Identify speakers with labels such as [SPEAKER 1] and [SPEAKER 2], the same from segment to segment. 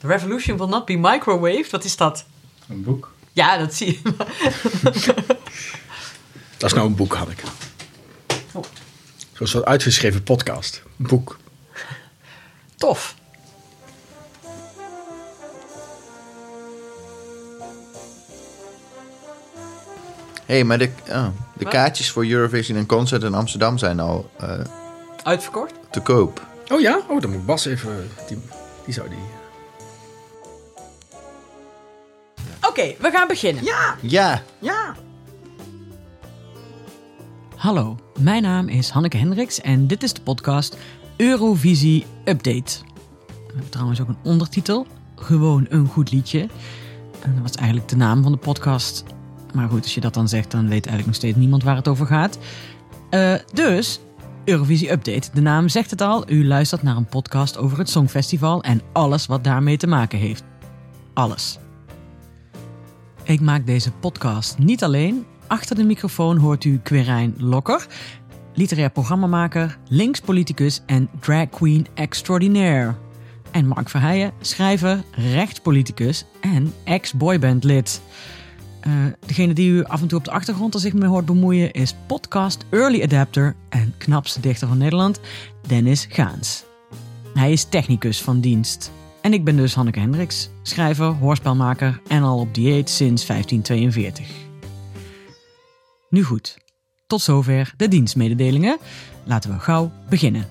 [SPEAKER 1] The Revolution Will Not Be Microwaved. Wat is dat?
[SPEAKER 2] Een boek.
[SPEAKER 1] Ja, dat zie je.
[SPEAKER 3] Dat is nou een boek, had ik.
[SPEAKER 1] Oh.
[SPEAKER 3] Zo'n soort uitgeschreven podcast. Een boek.
[SPEAKER 1] Tof.
[SPEAKER 4] Hé, hey, maar de, oh, de
[SPEAKER 1] Wat?
[SPEAKER 4] kaartjes voor Eurovision en Concert in Amsterdam zijn al eh,
[SPEAKER 1] Uitverkocht?
[SPEAKER 4] te koop.
[SPEAKER 3] Oh ja? Oh, dan moet Bas even... Die, die zou die...
[SPEAKER 1] Oké, we gaan beginnen.
[SPEAKER 4] Ja,
[SPEAKER 1] Hallo, mijn naam is Hanneke Hendricks en dit is de podcast Eurovisie Update. We hebben trouwens ook een ondertitel, gewoon een goed liedje. En dat was eigenlijk de naam van de podcast. Maar goed, als je dat dan zegt, dan weet eigenlijk nog steeds niemand waar het over gaat. Eh, dus, Eurovisie Update. De naam zegt het al, u luistert naar een podcast over het Songfestival en alles wat daarmee te maken heeft. Alles. Ik maak deze podcast niet alleen. Achter de microfoon hoort u Quirijn Lokker, literair programmamaker, linkspoliticus en drag queen extraordinaire. En Mark Verheijen, schrijver, rechtspoliticus en ex-boybandlid. Eh, degene die u af en toe op de achtergrond er zich mee hoort bemoeien is podcast Early Adapter en knapste dichter van Nederland, Dennis Gaans. Hij is technicus van dienst. En ik ben dus Hanneke Hendricks, schrijver, hoorspelmaker en al op dieet sinds 1542. Nu goed, tot zover de dienstmededelingen. Laten we gauw beginnen.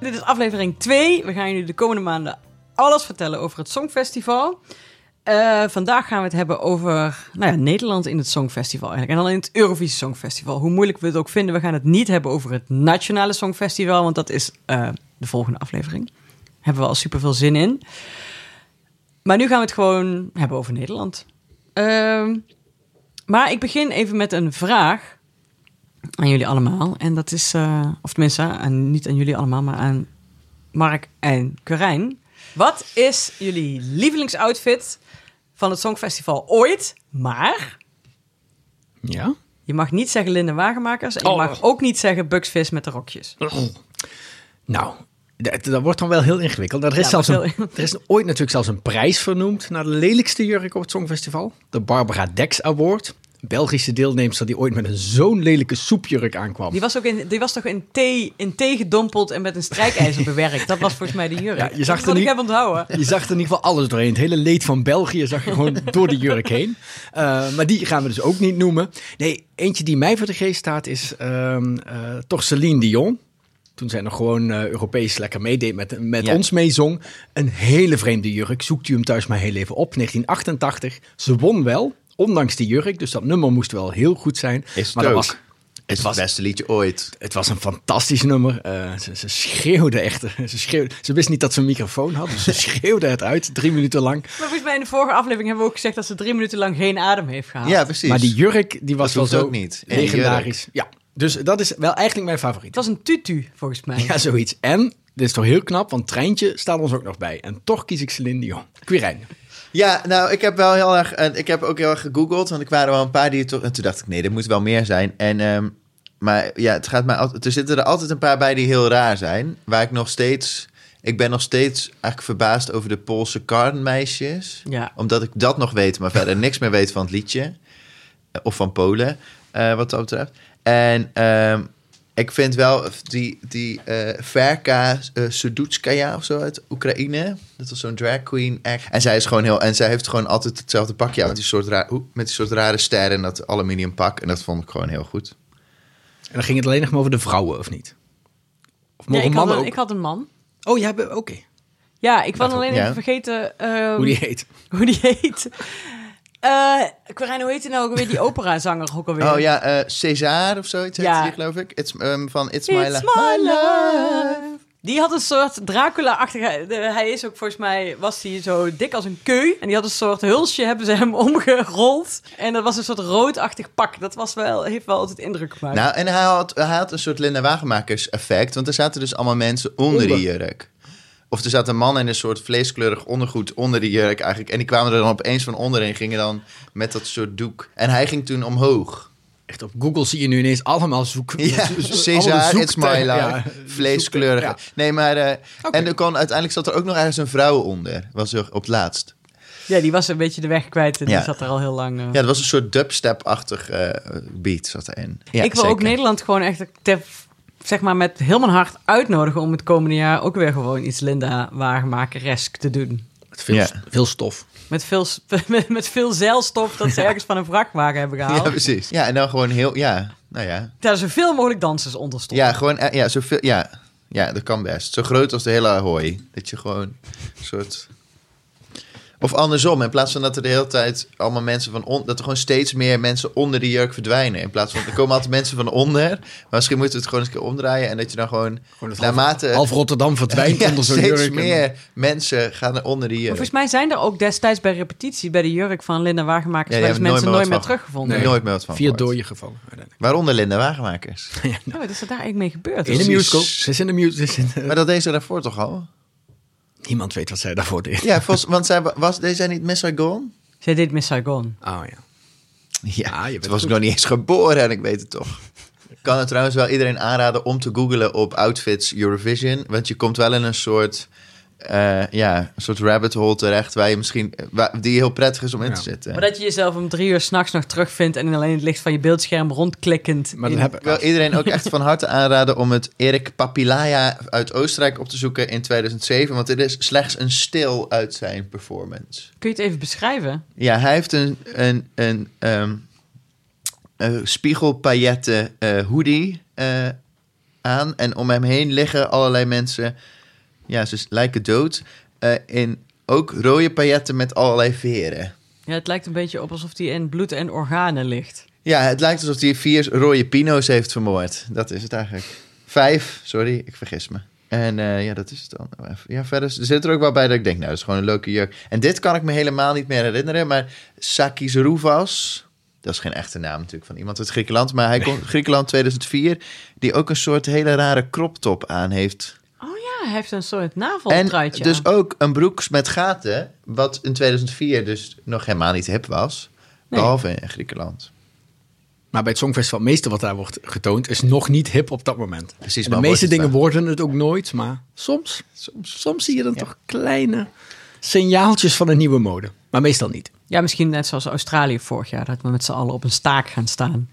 [SPEAKER 1] Dit is aflevering 2. We gaan jullie de komende maanden alles vertellen over het Songfestival. Eh, vandaag gaan we het hebben over nou ja, Nederland in het Songfestival eigenlijk. En dan in het Eurovisie Songfestival. Hoe moeilijk we het ook vinden, we gaan het niet hebben over het Nationale Songfestival. Want dat is eh, de volgende aflevering. Hebben we al super veel zin in. Maar nu gaan we het gewoon hebben over Nederland. Ehm, maar ik begin even met een vraag aan jullie allemaal. En dat is, eh, of tenminste, aan, niet aan jullie allemaal, maar aan Mark en Corijn. Wat is jullie lievelingsoutfit van het Songfestival ooit? Maar
[SPEAKER 3] Ja?
[SPEAKER 1] je mag niet zeggen Linde Wagenmakers. En je
[SPEAKER 3] Oh.
[SPEAKER 1] mag ook niet zeggen Bugsvis met de rokjes.
[SPEAKER 3] Nou, dat, dat wordt dan wel heel ingewikkeld. Er is,
[SPEAKER 1] Ja,
[SPEAKER 3] zelfs
[SPEAKER 1] maar
[SPEAKER 3] een,
[SPEAKER 1] veel-
[SPEAKER 3] er is ooit natuurlijk zelfs een prijs vernoemd naar de lelijkste jurk op het Songfestival. De Barbara Dex Award. Belgische deelnemster die ooit met een zo'n lelijke soepjurk aankwam.
[SPEAKER 1] Die was, ook in, die was toch in thee, in thee gedompeld en met een strijkijzer bewerkt? Dat was volgens mij de jurk.
[SPEAKER 3] Ja, je
[SPEAKER 1] dat
[SPEAKER 3] zag er
[SPEAKER 1] kon ik
[SPEAKER 3] niet-
[SPEAKER 1] heb onthouden.
[SPEAKER 3] Je zag er in ieder geval alles doorheen. Het hele leed van België zag je gewoon door de jurk heen. Eh, maar die gaan we dus ook niet noemen. Nee, eentje die mij voor de geest staat is ehm, eh, toch Celine Dion. Toen zij nog gewoon eh, Europees lekker meedeed met, met
[SPEAKER 4] Ja.
[SPEAKER 3] ons meezong. Een hele vreemde jurk. Zoekt u hem thuis maar heel even op. 1988. Ze won wel, ondanks die jurk. Dus dat nummer moest wel heel goed zijn.
[SPEAKER 4] is
[SPEAKER 3] maar
[SPEAKER 4] het
[SPEAKER 3] dat was,
[SPEAKER 4] ook. is het
[SPEAKER 3] was-
[SPEAKER 4] beste liedje ooit.
[SPEAKER 3] het was een fantastisch nummer. Eh, ze, ze schreeuwde echt. Ze, schreeuwde, ze wist niet dat ze een microfoon had. Dus ze schreeuwde het uit, drie minuten lang.
[SPEAKER 1] Maar volgens mij in de vorige aflevering hebben we ook gezegd dat ze drie minuten lang geen adem heeft gehaald.
[SPEAKER 4] Ja, precies.
[SPEAKER 3] Ah. Maar die jurk, die was
[SPEAKER 4] Dat hoeft
[SPEAKER 3] wel zo
[SPEAKER 4] ook niet. En die
[SPEAKER 3] legendarisch. Ja, dus dat is wel eigenlijk mijn
[SPEAKER 1] Het
[SPEAKER 3] favoriet.
[SPEAKER 1] was een tutu, volgens mij.
[SPEAKER 3] Ja, zoiets. En, dit is toch heel knap, want Treintje staat ons ook nog bij. En toch kies ik Celine Dion. Quirijn.
[SPEAKER 4] Ja, nou, ik heb wel heel erg. en ik heb ook heel erg gegoogeld, want ik waren wel een paar die het toch. En toen dacht ik, nee, er moet wel meer zijn. En, ehm, maar ja, het gaat mij altijd. Er zitten er altijd een paar bij die heel raar zijn. Waar ik nog steeds. Ik ben nog steeds eigenlijk verbaasd over de Poolse karnmeisjes.
[SPEAKER 1] Ja.
[SPEAKER 4] Omdat ik dat nog weet, maar verder niks meer weet van het liedje. Eh, Of van Polen, eh, wat dat betreft. En ehm, ik vind wel die, die eh Verka eh, Sudutskaya of zo uit Oekraïne. Dat was zo'n drag queen act. En zij is gewoon heel. En zij heeft gewoon altijd hetzelfde pakje aan. Met die soort, raar, oeh, met die soort rare sterren en dat aluminium pak. En dat vond ik gewoon heel goed.
[SPEAKER 3] En dan ging het alleen nog maar over de vrouwen, of niet? Of
[SPEAKER 1] Ja,
[SPEAKER 3] mogen
[SPEAKER 1] ik, had
[SPEAKER 3] mannen
[SPEAKER 1] een,
[SPEAKER 3] ook?
[SPEAKER 1] ik had een man.
[SPEAKER 3] Oh, ja, oké.
[SPEAKER 1] Ja, ik was alleen
[SPEAKER 4] ja.
[SPEAKER 1] even vergeten ehm,
[SPEAKER 3] Hoe die heet.
[SPEAKER 1] hoe die heet. Eh Corijn, hoe heet hij nou ook weer? Die operazanger ook alweer.
[SPEAKER 4] Oh ja, eh, César of zoiets heette
[SPEAKER 1] Ja.
[SPEAKER 4] die, geloof ik. It's, ehm, van It's, My,
[SPEAKER 1] It's
[SPEAKER 4] Life.
[SPEAKER 1] my life. Die had een soort Dracula-achtige... de- Hij is ook volgens mij, was hij zo dik als een keu. En die had een soort hulsje, hebben ze hem omgerold. En dat was een soort roodachtig pak. Dat was wel, heeft wel altijd indruk gemaakt.
[SPEAKER 4] Nou, en hij had, hij had een soort Linda Wagenmakers effect. Want er zaten dus allemaal mensen onder,
[SPEAKER 3] Onder.
[SPEAKER 4] die jurk. Of er zat een man in een soort vleeskleurig ondergoed onder die jurk eigenlijk. En die kwamen er dan opeens van onder en gingen dan met dat soort doek. En hij ging toen omhoog.
[SPEAKER 3] Echt op Google zie je nu ineens allemaal zoeken.
[SPEAKER 4] Ja,
[SPEAKER 3] zo- zo- allemaal
[SPEAKER 4] Cesar,
[SPEAKER 3] zoektermen.
[SPEAKER 4] It's My Life,
[SPEAKER 3] Ja,
[SPEAKER 4] vleeskleurige.
[SPEAKER 3] zoektermen,
[SPEAKER 4] Nee, maar... eh,
[SPEAKER 3] Oké.
[SPEAKER 4] En er kon, uiteindelijk zat er ook nog ergens een vrouw onder. Was er op het laatst.
[SPEAKER 1] Ja, die was een beetje de weg kwijt en
[SPEAKER 4] Ja.
[SPEAKER 1] die zat er al heel lang. eh.
[SPEAKER 4] Ja, dat was een soort dubstep-achtig eh, beat zat erin. Ja,
[SPEAKER 1] ik wil ook
[SPEAKER 4] zeker.
[SPEAKER 1] Nederland gewoon echt ter- zeg maar met heel mijn hart uitnodigen om het komende jaar ook weer gewoon iets Linda Waagmakeresk te doen.
[SPEAKER 3] ja. Veel,
[SPEAKER 4] Ja.
[SPEAKER 3] veel stof.
[SPEAKER 1] Met veel, s- met, met veel zeilstof dat ze ergens van een vrachtwagen hebben gehaald.
[SPEAKER 4] Ja, precies. Ja, en dan gewoon heel... Ja, nou ja.
[SPEAKER 1] Daar zoveel mogelijk dansers onder stonden.
[SPEAKER 4] Ja, gewoon... eh, Ja, zoveel, ja. ja, dat kan best. Zo groot als de hele Ahoy. Dat je gewoon een soort... Of andersom, in plaats van dat er de hele tijd allemaal mensen van on, dat er gewoon steeds meer mensen onder de jurk verdwijnen. In plaats van, er komen altijd mensen van onder. Maar misschien moeten we het gewoon eens een keer omdraaien. En dat je dan gewoon,
[SPEAKER 3] Gewoon het half-
[SPEAKER 4] naarmate...
[SPEAKER 3] Half Rotterdam verdwijnt
[SPEAKER 4] Ja,
[SPEAKER 3] onder zo'n
[SPEAKER 4] steeds
[SPEAKER 3] jurk. en-
[SPEAKER 4] meer mensen gaan er onder die
[SPEAKER 1] Maar
[SPEAKER 4] jurk.
[SPEAKER 1] Volgens mij zijn er ook destijds bij repetitie bij de jurk van Linda Wagenmakers
[SPEAKER 4] Ja, die
[SPEAKER 1] wel eens
[SPEAKER 4] hebben
[SPEAKER 1] mensen nooit meer
[SPEAKER 4] nooit meer wat van.
[SPEAKER 1] teruggevonden.
[SPEAKER 3] Nee.
[SPEAKER 4] Nooit meer wat van
[SPEAKER 3] Via
[SPEAKER 4] gehoord.
[SPEAKER 3] dooien gevallen. uiteindelijk.
[SPEAKER 4] Waaronder Linda Wagenmakers.
[SPEAKER 1] Ja, Oh, wat is er daar eigenlijk mee gebeurd?
[SPEAKER 3] In de
[SPEAKER 4] Precies.
[SPEAKER 3] musical. Ze is in de musical. ze is in de-
[SPEAKER 4] Maar dat deed ze daarvoor toch al?
[SPEAKER 3] Niemand weet wat zij daarvoor deed.
[SPEAKER 4] Ja, volgens, want zij wa- was, deed zij niet Miss Gone?
[SPEAKER 1] Zij deed Miss Saigon.
[SPEAKER 3] Oh ja.
[SPEAKER 4] Ja,
[SPEAKER 3] Ah, je bent
[SPEAKER 4] toen was ik
[SPEAKER 3] goed.
[SPEAKER 4] nog niet eens geboren en ik weet het toch. Ik kan het trouwens wel iedereen aanraden om te googlen op outfits Eurovision. Want je komt wel in een soort, eh, ja, een soort rabbit hole terecht waar je misschien, eh, waar- die heel prettig is om in
[SPEAKER 3] Ja.
[SPEAKER 4] te zitten.
[SPEAKER 1] Maar dat je jezelf om drie uur s'nachts nog terugvindt en in alleen het licht van je beeldscherm rondklikkend.
[SPEAKER 3] Maar
[SPEAKER 1] in-
[SPEAKER 3] dat hebben
[SPEAKER 4] Ik wil iedereen ook echt van harte aanraden om het Erik Papilaya uit Oostenrijk op te zoeken in 2007. Want dit is slechts een stil uit zijn performance.
[SPEAKER 1] Kun je het even beschrijven?
[SPEAKER 4] Ja, hij heeft een, een, een, ehm een spiegelpailletten eh, hoodie eh, aan. En om hem heen liggen allerlei mensen. Ja, ze lijken dood. eh, in ook rode pailletten met allerlei veren.
[SPEAKER 1] Ja, het lijkt een beetje op alsof die in bloed en organen ligt.
[SPEAKER 4] Ja, het lijkt alsof hij vier rode pino's heeft vermoord. Dat is het eigenlijk. Vijf, sorry, ik vergis me. En eh, ja, dat is het dan. Oh, even. Ja, verder is- er zit er ook wel bij dat ik denk, nou, dat is gewoon een leuke jurk. En dit kan ik me helemaal niet meer herinneren, maar Sakis Rouvas... Dat is geen echte naam natuurlijk van iemand uit Griekenland, maar hij komt uit Griekenland 2004, die ook een soort hele rare crop top aan heeft.
[SPEAKER 1] Oh ja, hij heeft een soort
[SPEAKER 4] en
[SPEAKER 1] naveltruitje.
[SPEAKER 4] dus
[SPEAKER 1] aan.
[SPEAKER 4] ook een broek met gaten, wat in 2004 dus nog helemaal niet hip was,
[SPEAKER 1] Nee.
[SPEAKER 4] behalve in Griekenland.
[SPEAKER 3] Maar bij het Songfestival, het meeste wat daar wordt getoond, is nog niet hip op dat moment.
[SPEAKER 4] Precies,
[SPEAKER 3] En
[SPEAKER 4] maar
[SPEAKER 3] de
[SPEAKER 4] wordt
[SPEAKER 3] meeste
[SPEAKER 4] het
[SPEAKER 3] dingen
[SPEAKER 4] wel.
[SPEAKER 3] worden het ook nooit, maar soms, soms, soms zie je dan toch kleine signaaltjes van een nieuwe mode. Maar meestal niet.
[SPEAKER 1] Ja, misschien net zoals Australië vorig jaar, dat we met z'n allen op een staak gaan staan.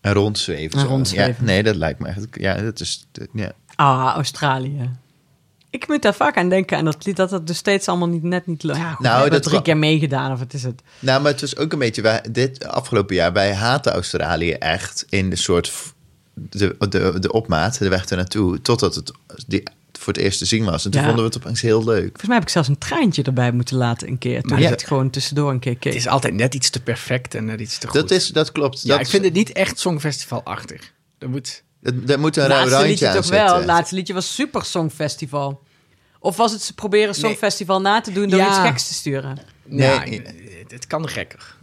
[SPEAKER 4] Een rondzweven.
[SPEAKER 1] Een
[SPEAKER 4] zo.
[SPEAKER 1] rondzweven.
[SPEAKER 4] Ja, nee, dat lijkt me echt. Ja, dat is. dat- ja.
[SPEAKER 1] Ah, Australië. Ik moet daar vaak aan denken en dat lied dat het dus steeds allemaal niet, net niet lukt. Ja, goed,
[SPEAKER 4] Nou,
[SPEAKER 1] we hebben
[SPEAKER 4] dat
[SPEAKER 1] drie
[SPEAKER 4] kan-
[SPEAKER 1] keer meegedaan of het is het.
[SPEAKER 4] Nou, maar het was ook een beetje. Wij, dit afgelopen jaar, wij haten Australië echt in de soort. v- De, de, de opmaat, de weg ernaartoe. Totdat het die, voor het eerst te zien was. En toen
[SPEAKER 1] Ja.
[SPEAKER 4] vonden we het opeens heel leuk.
[SPEAKER 1] Volgens mij heb ik zelfs een treintje erbij moeten laten een keer. Toen
[SPEAKER 3] Maar
[SPEAKER 1] ik
[SPEAKER 3] ja.
[SPEAKER 1] het gewoon tussendoor een keer keek.
[SPEAKER 3] Het is altijd net iets te perfect en net iets te goed.
[SPEAKER 4] Dat, is, dat klopt.
[SPEAKER 3] ja,
[SPEAKER 4] dat,
[SPEAKER 3] ik vind het niet echt Songfestival-achtig. Er moet...
[SPEAKER 4] dat, daar moet een rauw
[SPEAKER 1] laatste
[SPEAKER 4] randje
[SPEAKER 1] liedje
[SPEAKER 4] aan
[SPEAKER 1] toch wel.
[SPEAKER 4] zitten.
[SPEAKER 1] Het laatste liedje was Super Songfestival. Of was het ze proberen Songfestival na te doen door
[SPEAKER 3] Ja.
[SPEAKER 1] iets geks te sturen?
[SPEAKER 3] Nee,
[SPEAKER 4] Nee.
[SPEAKER 3] het- het kan gekker.